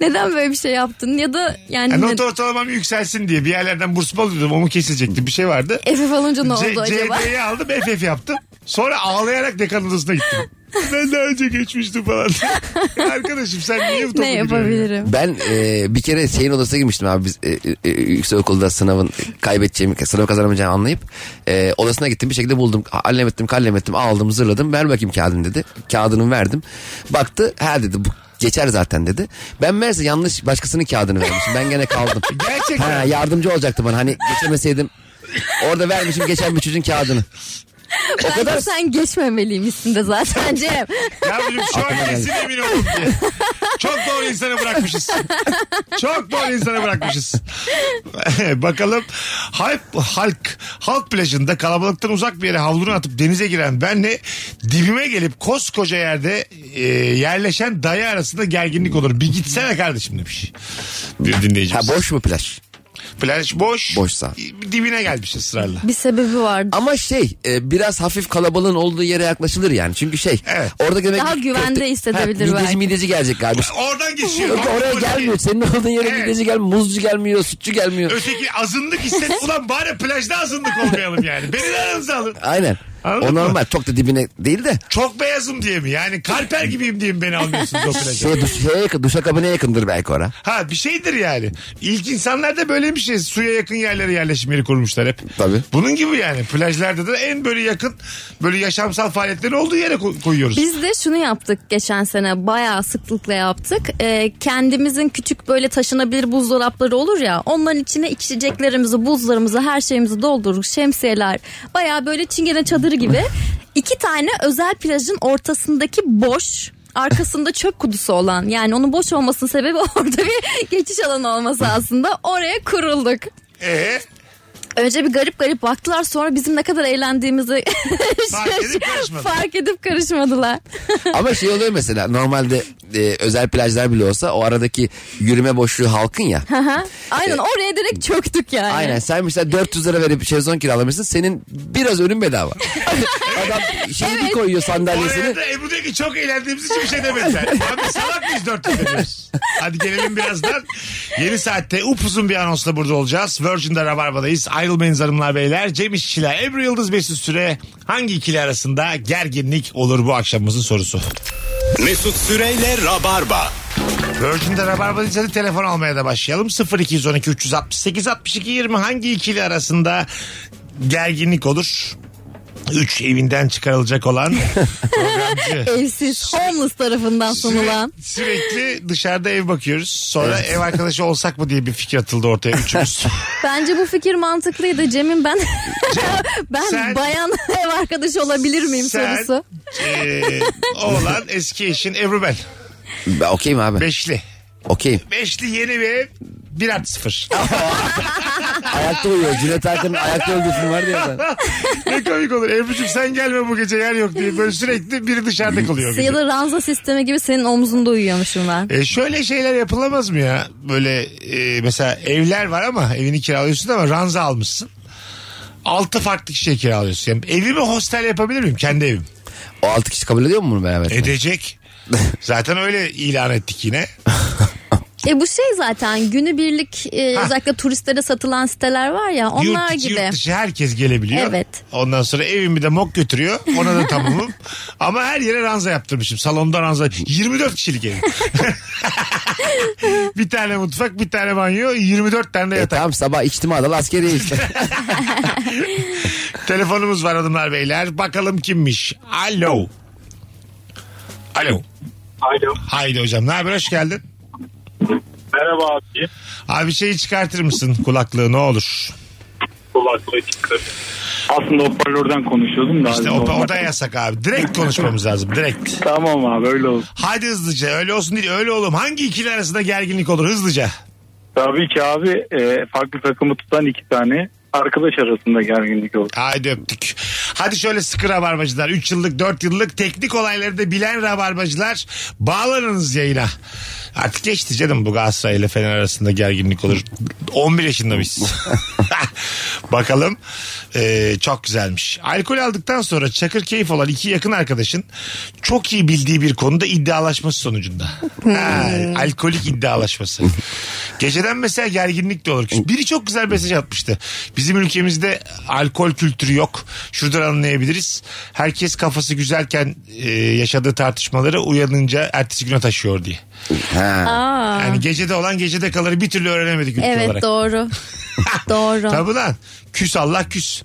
Speaker 5: Neden böyle bir şey yaptın? Ya da yani...
Speaker 3: Yani
Speaker 5: ne-
Speaker 3: E, not ortalamam yükselsin diye bir yerlerden burs mu alıyordum onu kesilecekti bir şey vardı.
Speaker 5: Efif alınca E, ne oldu
Speaker 3: C-
Speaker 5: acaba?
Speaker 3: CD'yi aldım FF yaptım. Sonra ağlayarak dekan odasına gittim. Ben daha önce geçmiştim falan. Arkadaşım sen niye bu topu
Speaker 5: ne
Speaker 3: biliyorsun ya?
Speaker 5: yapabilirim?
Speaker 4: Ben e, bir kere şeyin odasına girmiştim abi. Biz e, e, yüksek okulda sınavın kaybedeceğimi, sınavı kazanamayacağımı anlayıp e, odasına gittim. Bir şekilde buldum. Hallem ettim, kallem ettim, aldım, zırladım. Ver bakayım kağıdını dedi. Kağıdını verdim. Baktı. Ha dedi bu geçer zaten dedi. Ben meğerse yanlış başkasının kağıdını vermişim. Ben gene kaldım.
Speaker 3: Gerçekten.
Speaker 4: Ha, yardımcı olacaktı bana. Hani geçemeseydim orada vermişim geçen bir çocuğun kağıdını.
Speaker 5: Bence sen geçmemeliymişsin de zaten Cem.
Speaker 3: Yavrucuğum şu an kesin emin olun diye. Çok doğru insanı bırakmışız. Çok doğru insanı bırakmışız. Bakalım halk, halk, halk plajında kalabalıktan uzak bir yere havlunu atıp denize giren benle dibime gelip koskoca yerde e, yerleşen dayı arasında gerginlik olur. Bir gitsene kardeşim demiş. Bir
Speaker 4: Ha
Speaker 3: dinleyicimiz.
Speaker 4: boş mu plaj?
Speaker 3: Plaj boş.
Speaker 4: Boşsa.
Speaker 3: Dibine gelmiş ısrarla.
Speaker 5: Bir sebebi vardı.
Speaker 4: Ama şey e, biraz hafif kalabalığın olduğu yere yaklaşılır yani. Çünkü şey
Speaker 3: Evet.
Speaker 4: orada demek
Speaker 5: Daha güvende hissedebilir
Speaker 4: mideci,
Speaker 5: belki.
Speaker 4: Mideci gelecek kardeş.
Speaker 3: Oradan geçiyor.
Speaker 4: Yok oraya gelmiyor. Senin olduğun yere
Speaker 3: Evet.
Speaker 4: mideci gelmiyor. Muzcu gelmiyor. Sütçü gelmiyor.
Speaker 3: Öteki azınlık hisset. Ulan bari plajda azınlık olmayalım yani. Beni de aranıza alın.
Speaker 4: Aynen.
Speaker 3: Anladın
Speaker 4: o
Speaker 3: mı?
Speaker 4: normal. Çok da dibine değil de.
Speaker 3: Çok beyazım diye mi? Yani kalper gibiyim diye mi beni almıyorsunuz o plaja?
Speaker 4: Şey, duş, şeye yakın, duşakabine yakındır belki ora.
Speaker 3: Ha bir şeydir yani. İlk insanlar da böyle bir şey. Suya yakın yerlere yerleşim yeri kurmuşlar hep.
Speaker 4: Tabii.
Speaker 3: Bunun gibi yani. Plajlarda da en böyle yakın böyle yaşamsal faaliyetlerin olduğu yere ko- koyuyoruz.
Speaker 5: Biz de şunu yaptık geçen sene bayağı sıklıkla yaptık. Ee, kendimizin küçük böyle taşınabilir buzdolapları olur ya onların içine içeceklerimizi, buzlarımızı, her şeyimizi doldurduk. Şemsiyeler bayağı böyle çingene çadırı gibi. İki tane özel plajın ortasındaki boş arkasında çöp kutusu olan yani onun boş olmasının sebebi orada bir geçiş alanı olması aslında oraya kurulduk.
Speaker 3: Ee,
Speaker 5: Önce bir garip garip baktılar sonra bizim ne kadar eğlendiğimizi
Speaker 3: Fark edip karışmadılar.
Speaker 5: fark edip karışmadılar.
Speaker 4: Ama şey oluyor mesela normalde e, özel plajlar bile olsa o aradaki yürüme boşluğu halkın ya.
Speaker 5: Aha. Aynen oraya direkt çöktük yani.
Speaker 4: Aynen sen mesela 400 lira verip şezlong kiralamışsın senin biraz önün bedava. Adam şeyi bir koyuyor sandalyesini.
Speaker 3: oraya da Ebru'daki çok eğlendiğimiz için bir şey demediler. Abi salak mıyız dört yüz veriyoruz? Hadi gelelim birazdan. Yeni saatte upuzun bir anonsla burada olacağız. Virgin'de Rabarba'dayız. Ayrılmayınız hanımlar beyler. Cem İşçiler, Ebru Yıldız Mesut Süre hangi ikili arasında gerginlik olur bu akşamımızın sorusu.
Speaker 2: Mesut Süreyle Rabarba.
Speaker 3: Virgin'de Rabarba'dayız. Hadi telefon almaya da başlayalım. 0212 368 62 20 hangi ikili arasında gerginlik olur? 3 evinden çıkarılacak olan programcı.
Speaker 5: Evsiz, homeless tarafından sunulan.
Speaker 3: Süre- sürekli dışarıda ev bakıyoruz. Sonra ev arkadaşı olsak mı diye bir fikir atıldı ortaya üçümüz.
Speaker 5: Bence bu fikir mantıklıydı Cem'in ben ben
Speaker 3: sen-
Speaker 5: bayan ev arkadaşı olabilir miyim
Speaker 3: Sen-
Speaker 5: sorusu.
Speaker 3: ee, oğlan eski eşin Ebru ben.
Speaker 4: Ben Okeyim abi.
Speaker 3: Beşli.
Speaker 4: Okeyim.
Speaker 3: Beşli yeni bir ev. 1 artı 0.
Speaker 4: Ayakta uyuyor. Cüneyt Arkın'ın ayakta öldüğü film vardı ya. ben.
Speaker 3: ne komik olur. Ebru'cum sen gelme bu gece yer yok diye. Böyle sürekli biri dışarıda kalıyor.
Speaker 5: Ya da ranza sistemi gibi senin omzunda uyuyormuşum ben.
Speaker 3: E şöyle şeyler yapılamaz mı ya? Böyle e, mesela evler var ama evini kiralıyorsun ama ranza almışsın. Altı farklı kişiye kiralıyorsun. Yani evimi hostel yapabilir miyim? Kendi evim.
Speaker 4: O altı kişi kabul ediyor mu bunu beraber?
Speaker 3: Edecek. Zaten öyle ilan ettik yine.
Speaker 5: E bu şey zaten günübirlik e,
Speaker 3: Ha.
Speaker 5: özellikle turistlere satılan siteler var ya onlar
Speaker 3: yurt içi,
Speaker 5: gibi.
Speaker 3: yurt dışı herkes gelebiliyor.
Speaker 5: Evet.
Speaker 3: Ondan sonra evimi de mok götürüyor. Ona da tamamım. Ama her yere ranza yaptırmışım. Salonda ranza. 24 kişilik ev. bir tane mutfak, bir tane banyo, 24 tane de
Speaker 4: E
Speaker 3: yatak.
Speaker 4: tamam sabah içtim adal askeriye işte.
Speaker 3: Telefonumuz var hanımlar beyler. Bakalım kimmiş? Alo. Alo.
Speaker 6: Alo.
Speaker 3: Haydi hocam. Ne haber? Hoş geldin.
Speaker 6: Merhaba abi.
Speaker 3: Abi şeyi çıkartır mısın kulaklığı ne olur?
Speaker 6: Kulaklığı çıktı. Aslında hoparlörden konuşuyordum da.
Speaker 3: İşte
Speaker 6: abi,
Speaker 3: o,
Speaker 6: normal.
Speaker 3: o da yasak abi. Direkt konuşmamız lazım. Direkt.
Speaker 6: Tamam abi öyle olsun.
Speaker 3: Haydi hızlıca. Öyle olsun değil. Öyle oğlum. Hangi ikili arasında gerginlik olur? Hızlıca.
Speaker 6: Tabii ki abi e, farklı takımı tutan iki tane arkadaş arasında gerginlik oldu.
Speaker 3: Haydi öptük. Hadi şöyle sıkı rabarbacılar. 3 yıllık 4 yıllık teknik olayları da bilen rabarbacılar bağlanınız yayına. Artık geçti canım bu Galatasaray ile Fener arasında gerginlik olur. 11 yaşında biz. Bakalım. Ee, çok güzelmiş. Alkol aldıktan sonra çakır keyif olan iki yakın arkadaşın çok iyi bildiği bir konuda iddialaşması sonucunda.
Speaker 5: Hmm.
Speaker 3: Ha, alkolik iddialaşması. Geceden mesela gerginlik de olur. Biri çok güzel mesaj atmıştı. Bizim ülkemizde alkol kültürü yok. Şuradan anlayabiliriz. Herkes kafası güzelken e, yaşadığı tartışmaları uyanınca ertesi güne taşıyor diye.
Speaker 4: ha.
Speaker 5: Aa,
Speaker 3: Yani gecede olan gecede kalır bir türlü öğrenemedik ülke
Speaker 5: evet
Speaker 3: olarak.
Speaker 5: doğru. doğru.
Speaker 3: Tabii lan. Küs Allah küs.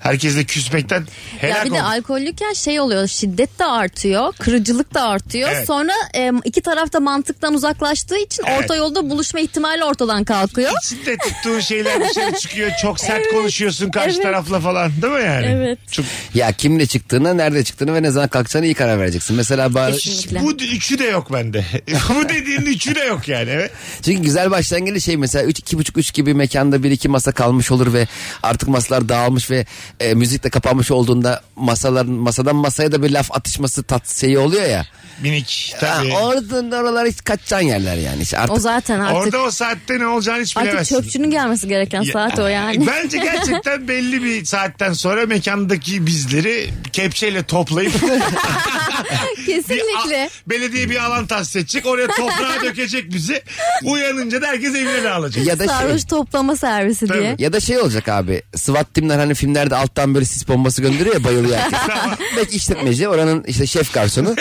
Speaker 3: Herkesle küsmekten helak
Speaker 5: Ya bir de
Speaker 3: olduk.
Speaker 5: alkollüyken şey oluyor şiddet de artıyor kırıcılık da artıyor
Speaker 3: Evet.
Speaker 5: sonra e, iki taraf da mantıktan uzaklaştığı için
Speaker 3: Evet.
Speaker 5: orta yolda buluşma ihtimali ortadan kalkıyor.
Speaker 3: İçinde tuttuğun şeyler dışarı çıkıyor. Çok sert konuşuyorsun karşı tarafla falan. Değil mi yani?
Speaker 5: Evet.
Speaker 3: Çok,
Speaker 4: Ya kimle çıktığına, nerede çıktığına ve ne zaman kalkacağına iyi karar vereceksin. Mesela bari...
Speaker 5: Kesinlikle.
Speaker 3: bu üçü de yok bende. bu dediğin üçü de yok yani. Evet.
Speaker 4: Çünkü güzel başlangıcı şey mesela 3 iki buçuk üç gibi mekanda bir iki masa kalmış olur ve artık masalar dağılmış ve e, müzikle kapanmış olduğunda masaların masadan masaya da bir laf atışması tat şeyi oluyor ya.
Speaker 3: Minik
Speaker 4: Ha,
Speaker 3: tabii.
Speaker 4: oradan oralar hiç kaçacaksın yerler yani. İşte artık
Speaker 5: O zaten artık
Speaker 3: Orada o saatte ne olacağını hiç
Speaker 5: artık
Speaker 3: bilemezsin.
Speaker 5: çöpçünün gelmesi gereken
Speaker 3: Ya-
Speaker 5: saat o yani.
Speaker 3: Bence gerçekten belli bir saatten sonra mekandaki bizleri kepçeyle toplayıp bir a-
Speaker 5: Kesinlikle.
Speaker 3: belediye bir alan tahsis edecek. Oraya toprağa dökecek bizi. Uyanınca da herkes evine alacak.
Speaker 4: ya da şey,
Speaker 5: Sarhoş toplama servisi
Speaker 3: Tabii.
Speaker 5: diye.
Speaker 4: ya da şey olacak abi. SWAT timler hani filmlerde alttan böyle sis bombası gönderiyor ya bayılıyor herkes. Belki işletmeci oranın işte şef garsonu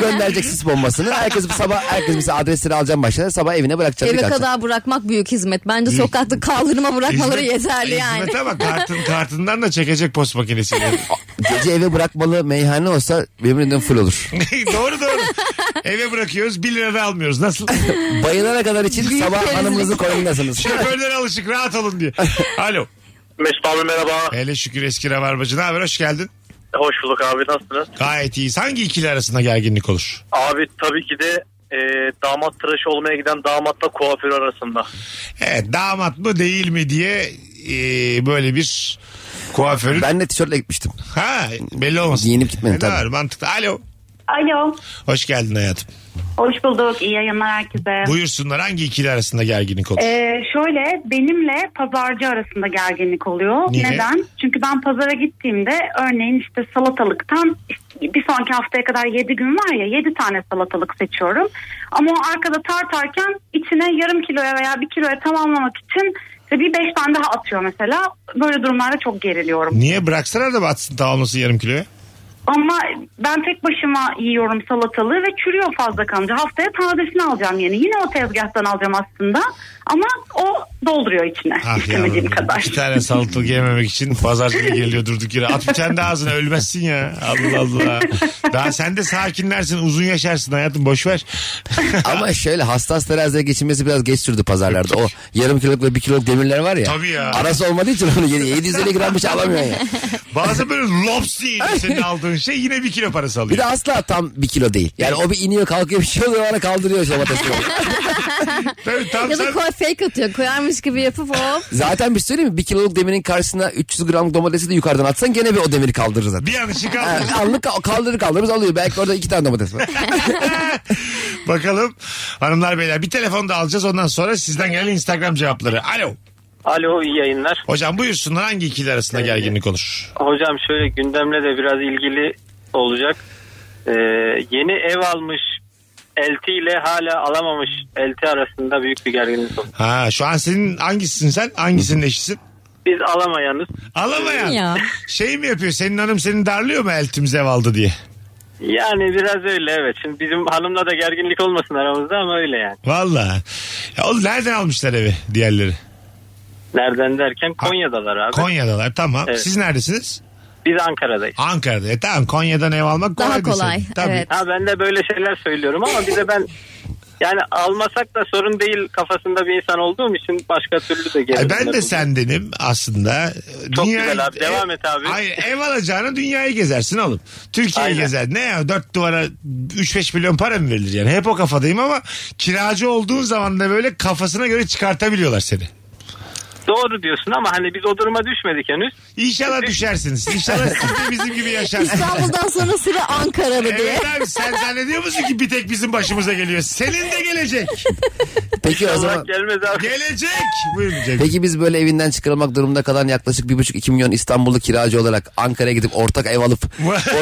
Speaker 4: gönderecek sis bombasını. Herkes bu sabah herkes mesela adresleri alacağım başlar sabah evine bırakacak.
Speaker 5: Eve
Speaker 4: bırakacak.
Speaker 5: kadar bırakmak büyük hizmet. Bence sokakta kaldırıma bırakmaları
Speaker 3: Hizmet- e,
Speaker 5: yeterli yani.
Speaker 3: Hizmete bak kartın, kartından da çekecek post makinesiyle.
Speaker 4: Gece eve bırakmalı meyhane olsa birbirinden full olur.
Speaker 3: doğru doğru. Eve bırakıyoruz 1 lira da almıyoruz. Nasıl?
Speaker 4: Bayılana kadar için
Speaker 5: Büyük
Speaker 4: sabah
Speaker 5: rezillik.
Speaker 4: hanımınızı koyundasınız.
Speaker 3: Şoförlere alışık rahat olun diye. Alo.
Speaker 8: Mesut abi merhaba.
Speaker 3: Hele şükür eski rabarbacı. Ne haber? Hoş geldin.
Speaker 8: Hoş bulduk abi nasılsınız?
Speaker 3: Gayet iyiyiz. Hangi ikili arasında gerginlik olur?
Speaker 8: Abi tabii ki de e, damat tıraşı olmaya giden damatla kuaför arasında.
Speaker 3: Evet damat mı değil mi diye e, böyle bir kuaförün.
Speaker 4: Ben de tişörtle gitmiştim.
Speaker 3: Ha belli olmasın.
Speaker 4: Giyinip gitmedim,
Speaker 3: E,
Speaker 4: tabii.
Speaker 3: doğru, mantıklı. Alo.
Speaker 9: Alo.
Speaker 3: Hoş geldin hayatım.
Speaker 9: Hoş bulduk. İyi yayınlar herkese.
Speaker 3: Buyursunlar hangi ikili arasında gerginlik olur?
Speaker 9: Ee, şöyle benimle pazarcı arasında gerginlik oluyor.
Speaker 3: Niye?
Speaker 9: Neden? Çünkü ben pazara gittiğimde örneğin işte salatalıktan işte bir sonraki haftaya kadar 7 gün var ya 7 tane salatalık seçiyorum. Ama o arkada tartarken içine yarım kiloya veya bir kiloya tamamlamak için işte bir 5 tane daha atıyor mesela. Böyle durumlarda çok geriliyorum.
Speaker 3: Niye bıraksana da batsın tamamlasın yarım kiloya?
Speaker 9: Ama ben tek başıma yiyorum salatalığı ve çürüyor fazla kalınca. Haftaya tazesini alacağım yani. Yine o tezgahtan alacağım aslında. Ama o dolduruyor içine.
Speaker 3: Ah
Speaker 9: İstemediğim
Speaker 3: yavrum.
Speaker 9: kadar.
Speaker 3: İki tane salatalık yememek için pazarcıya geliyor durduk yere. At bir tane de ağzına ölmezsin ya. Allah Allah. Daha sen de sakinlersin uzun yaşarsın hayatım boş ver.
Speaker 4: Ama şöyle hassas teraziye geçilmesi biraz geç sürdü pazarlarda. O yarım kiloluk ve bir kiloluk demirler var ya.
Speaker 3: Tabii ya.
Speaker 4: Arası olmadığı için onu yedi- 750 gram bir şey alamıyorsun ya.
Speaker 3: Bazen böyle lops diye yine senin aldığın şey yine bir kilo parası
Speaker 4: Bir
Speaker 3: alıyor.
Speaker 4: de asla tam bir kilo değil. Yani o bir iniyor kalkıyor bir şey oluyor bana kaldırıyor şamatası.
Speaker 3: Tabii, tam
Speaker 5: Ya da
Speaker 3: sen-
Speaker 5: koy fake atıyor. Koyarmış gibi yapıp hop.
Speaker 4: Zaten bir şey söyleyeyim mi? Bir kiloluk demirin karşısına 300 gram domatesi de yukarıdan atsan gene bir o demiri kaldırır zaten.
Speaker 3: bir yanlışı kaldı.
Speaker 4: Yani Anlık kal- kaldırır kaldırır alıyor. Belki orada iki tane domates var.
Speaker 3: Bakalım hanımlar beyler bir telefon da alacağız ondan sonra sizden gelen Instagram cevapları. Alo.
Speaker 8: Alo iyi yayınlar.
Speaker 3: Hocam buyursunlar hangi ikili arasında gerginlik olur?
Speaker 8: Hocam şöyle gündemle de biraz ilgili olacak. E, yeni ev almış elti ile hala alamamış elti arasında büyük bir gerginlik oldu.
Speaker 3: Ha şu an senin hangisisin sen? Hangisinin eşisin?
Speaker 8: Biz alamayanız.
Speaker 3: Alamayan.
Speaker 5: Ya.
Speaker 3: Şey mi yapıyor? Senin hanım seni darlıyor mu eltimiz ev aldı diye?
Speaker 8: Yani biraz öyle evet. Şimdi bizim hanımla da gerginlik olmasın aramızda ama öyle yani.
Speaker 3: Valla. Ya oğlum nereden almışlar evi diğerleri?
Speaker 8: Nereden derken Konya'dalar abi.
Speaker 3: Konya'dalar tamam.
Speaker 8: Evet.
Speaker 3: Siz neredesiniz?
Speaker 8: Biz Ankara'dayız.
Speaker 3: Ankara'da. E tamam Konya'dan ev almak
Speaker 5: Daha
Speaker 3: kolay. bir
Speaker 5: kolay,
Speaker 3: şey. Tabii.
Speaker 5: evet.
Speaker 8: Ha ben de böyle şeyler söylüyorum ama bir de ben yani almasak da sorun değil kafasında bir insan olduğum için başka türlü de
Speaker 3: Ay,
Speaker 8: gelirim.
Speaker 3: ben de sendenim aslında.
Speaker 8: Çok güzel abi, devam et abi.
Speaker 3: Hayır ev alacağına dünyayı gezersin oğlum. Türkiye'yi
Speaker 8: Aynen.
Speaker 3: gezer. Ne ya dört duvara 3-5 milyon para mı verilir yani? Hep o kafadayım ama kiracı olduğun zaman da böyle kafasına göre çıkartabiliyorlar seni.
Speaker 8: Doğru diyorsun ama hani biz o duruma düşmedik henüz.
Speaker 3: İnşallah düşersiniz. İnşallah siz de bizim gibi yaşarsınız.
Speaker 5: İstanbul'dan sonra sıra Ankara'da diye.
Speaker 3: Evet abi sen zannediyor musun ki bir tek bizim başımıza geliyor? Senin de gelecek.
Speaker 4: Peki o zaman...
Speaker 8: Allah gelmez abi.
Speaker 3: Gelecek. Buyurun Cem.
Speaker 4: Peki biz böyle evinden çıkarılmak durumunda kalan yaklaşık 1,5-2 milyon İstanbullu kiracı olarak Ankara'ya gidip ortak ev alıp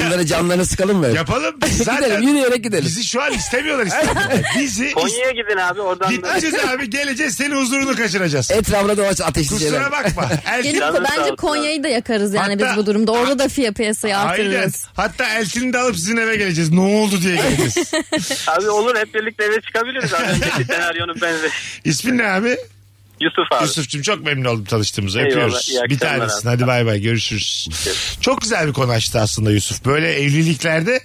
Speaker 4: onları canlarını sıkalım mı?
Speaker 3: Yapalım. Biz
Speaker 4: gidelim
Speaker 3: zaten
Speaker 4: yürüyerek gidelim.
Speaker 3: bizi şu an istemiyorlar İstanbul'da. Bizi
Speaker 8: Konya'ya gidin abi oradan da.
Speaker 3: gideceğiz abi geleceğiz senin huzurunu kaçıracağız.
Speaker 4: Etrafına dolaş ateşleyeceğim.
Speaker 3: Kusura bakma. Elçin
Speaker 5: Gelip
Speaker 8: Canım sağ
Speaker 5: bence
Speaker 8: olsun.
Speaker 5: Konya'yı da yakarız yani
Speaker 3: Hatta-
Speaker 5: biz bu durumda. Orada da fiyat piyasayı
Speaker 3: Aynen.
Speaker 5: artırırız.
Speaker 3: Hatta Elçin'i de alıp sizin eve geleceğiz. Ne oldu diye geleceğiz.
Speaker 8: Abi olur hep birlikte eve çıkabiliriz abi. Önceki senaryonun benzeri.
Speaker 3: İsmin ne abi?
Speaker 8: Yusuf abi.
Speaker 3: Yusuf'cum çok memnun oldum tanıştığımıza.
Speaker 8: Eyvallah,
Speaker 3: Öpüyoruz.
Speaker 8: iyi
Speaker 3: Bir
Speaker 8: akşamlar
Speaker 3: tanesin.
Speaker 8: abi.
Speaker 3: Hadi bay bay görüşürüz. Çok güzel bir konu açtı aslında Yusuf. Böyle evliliklerde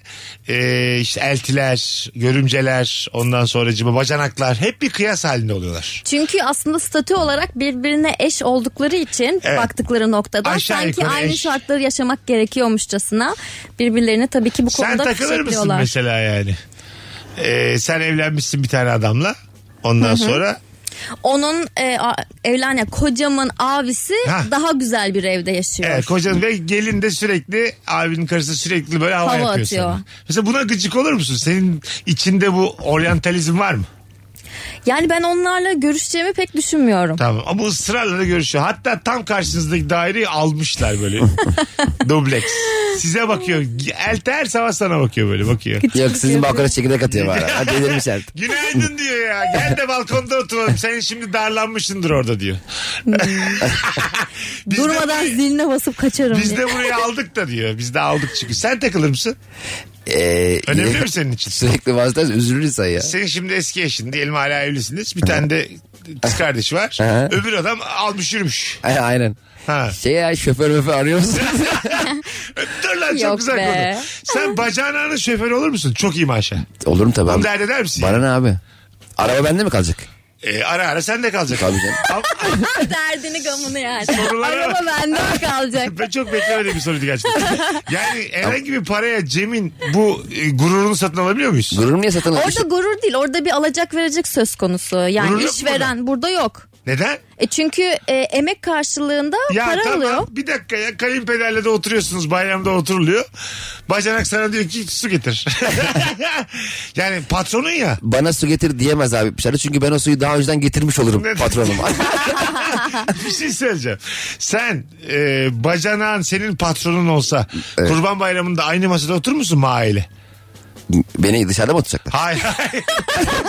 Speaker 3: e, işte eltiler, görümceler, ondan sonracıma bacanaklar hep bir kıyas halinde oluyorlar.
Speaker 5: Çünkü aslında statü olarak birbirine eş oldukları için
Speaker 3: Evet.
Speaker 5: baktıkları noktadan
Speaker 3: Aşağı
Speaker 5: sanki
Speaker 3: yukarı
Speaker 5: aynı
Speaker 3: eş.
Speaker 5: şartları yaşamak gerekiyormuşçasına birbirlerini tabii ki bu
Speaker 3: Sen
Speaker 5: konuda
Speaker 3: takılır mısın
Speaker 5: fişekliyorlar.
Speaker 3: mesela yani? E, sen evlenmişsin bir tane adamla. Ondan sonra
Speaker 5: Onun e, a- evlen ya kocamın abisi
Speaker 3: Ha.
Speaker 5: daha güzel bir evde yaşıyor.
Speaker 3: Evet e, kocanın ve gelin de sürekli abinin karısı sürekli böyle hava,
Speaker 5: Hava
Speaker 3: yapıyor
Speaker 5: atıyor.
Speaker 3: sana. Mesela buna gıcık olur musun? Senin içinde bu oryantalizm var mı?
Speaker 5: Yani ben onlarla görüşeceğimi pek düşünmüyorum.
Speaker 3: Tamam ama ısrarla da görüşüyor. Hatta tam karşınızdaki daireyi almışlar böyle. Dubleks. Size bakıyor. Elte her sabah sana bakıyor böyle bakıyor.
Speaker 4: Yok sizin balkona çekirdek atıyor bana. Ha, delirmiş artık.
Speaker 3: Günaydın diyor ya. Gel de balkonda oturalım. Sen şimdi darlanmışsındır orada diyor. Biz de
Speaker 5: Durmadan
Speaker 3: burayı-
Speaker 5: ziline basıp kaçarım
Speaker 3: Biz
Speaker 5: diye.
Speaker 3: de burayı aldık da diyor. Biz de aldık çünkü. Sen takılır mısın?
Speaker 4: Ee,
Speaker 3: Önemli mi senin için?
Speaker 4: Sürekli vazgeçmez üzülür insan ya.
Speaker 3: Senin şimdi eski eşin diyelim hala evlisiniz. Bir tane de kız kardeşi var.
Speaker 4: Aha.
Speaker 3: Öbür adam almış yürümüş.
Speaker 4: A- Aynen.
Speaker 3: Ha.
Speaker 4: Şey ya şoför möför arıyor musun?
Speaker 3: Dur lan çok
Speaker 5: Yok
Speaker 3: güzel
Speaker 5: be.
Speaker 3: konu. Sen bacağın ağrının şoförü olur musun? Çok iyi maşa.
Speaker 4: Olurum tabii.
Speaker 3: Bunu
Speaker 4: abi.
Speaker 3: dert eder misin?
Speaker 4: Bana ne abi? Araba bende mi kalacak?
Speaker 3: Ee, ara ara sen de kalacak.
Speaker 4: Tabii canım.
Speaker 3: Ama-
Speaker 5: Derdini gamını yani.
Speaker 3: Sorulara
Speaker 5: Araba bende mi kalacak?
Speaker 3: Ben çok beklemediğim bir soruydu gerçekten. Yani herhangi bir paraya Cem'in bu e, gururunu satın alabiliyor muyuz?
Speaker 4: Gururum niye satın
Speaker 5: Orada gurur değil orada bir alacak verecek söz konusu. Yani
Speaker 3: Gurur yok mu
Speaker 5: işveren burada yok.
Speaker 3: Neden?
Speaker 5: E çünkü e, emek karşılığında
Speaker 3: Ya
Speaker 5: para
Speaker 3: tamam
Speaker 5: alıyor.
Speaker 3: bir dakika ya kayınpederle de oturuyorsunuz bayramda oturuluyor. Bacanak sana diyor ki su getir. yani patronun ya.
Speaker 4: Bana su getir diyemez abi dışarı. Çünkü ben o suyu daha önceden getirmiş olurum
Speaker 3: Neden?
Speaker 4: patronum.
Speaker 3: Bir şey söyleyeceğim. Sen e, bacanağın senin patronun olsa kurban bayramında aynı masada oturur musun mahalle?
Speaker 4: Beni dışarıda mı tutacaklar?
Speaker 3: Hayır hayır.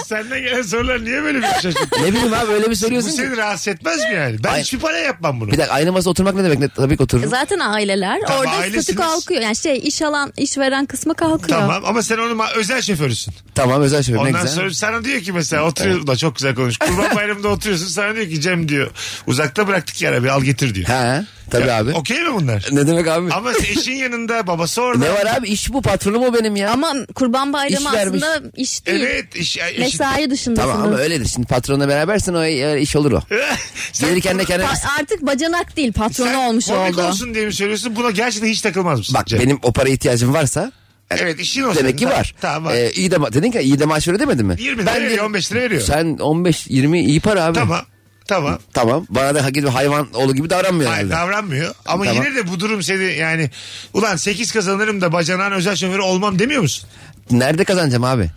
Speaker 3: Senden gelen sorular niye böyle bir şaşırtıyor?
Speaker 4: Ne bileyim abi öyle bir
Speaker 3: Bu
Speaker 4: soruyorsun ki.
Speaker 3: seni rahatsız etmez mi yani? Ben
Speaker 4: Hayır.
Speaker 3: hiçbir para yapmam bunu.
Speaker 4: Bir dakika aynı masada oturmak ne demek? Ne- Tabii ki otururum.
Speaker 5: E Zaten aileler
Speaker 3: Tamam,
Speaker 5: orada statü
Speaker 3: ailesiniz.
Speaker 5: kalkıyor. Yani şey iş alan işveren kısmı kalkıyor.
Speaker 3: Tamam ama sen onun ma- özel şoförüsün.
Speaker 4: Tamam özel şoför ne
Speaker 3: Ondan
Speaker 4: güzel.
Speaker 3: sonra sana diyor ki mesela oturuyor da çok güzel konuş. Kurban bayramında oturuyorsun sana diyor ki Cem diyor uzakta bıraktık ya bir al getir diyor.
Speaker 4: He tabii
Speaker 3: Ya,
Speaker 4: abi.
Speaker 3: Okey mi bunlar?
Speaker 4: Ne demek abi?
Speaker 3: ama eşin yanında babası orada.
Speaker 4: Ne var abi iş bu patronum o benim ya.
Speaker 5: Ama kurban bayramı
Speaker 4: İş vermiş.
Speaker 5: aslında iş değil.
Speaker 3: Evet iş, eşin-
Speaker 5: Mesai dışında
Speaker 4: Tamam ama
Speaker 5: sanırım.
Speaker 4: öyledir. Şimdi patronla berabersen o e, iş olur o.
Speaker 3: Sen
Speaker 4: Gelirken de kendine...
Speaker 5: Pa- artık bacanak değil patronu
Speaker 3: Sen
Speaker 5: olmuş
Speaker 3: komik
Speaker 5: oldu.
Speaker 3: olsun diye mi söylüyorsun? Buna gerçekten hiç takılmaz mısın?
Speaker 4: Bak
Speaker 3: Cem?
Speaker 4: benim o para ihtiyacım varsa
Speaker 3: Evet işin olsun.
Speaker 4: demek ki var.
Speaker 3: Tamam var.
Speaker 4: Ee, iyi de ma- dedin ki iyi de maaş veriyor demedin mi?
Speaker 3: 20 lira veriyor
Speaker 4: dedim-
Speaker 3: 15 lira veriyor.
Speaker 4: Sen 15 20 iyi para abi.
Speaker 3: Tamam. Tamam.
Speaker 4: Tamam. Bana da hakikaten hayvan oğlu gibi davranmıyor
Speaker 3: Hayır
Speaker 4: herhalde.
Speaker 3: davranmıyor. Ama
Speaker 4: Tamam.
Speaker 3: yine de bu durum seni yani ulan 8 kazanırım da bacanağın özel şoförü olmam demiyor musun?
Speaker 4: Nerede kazanacağım abi?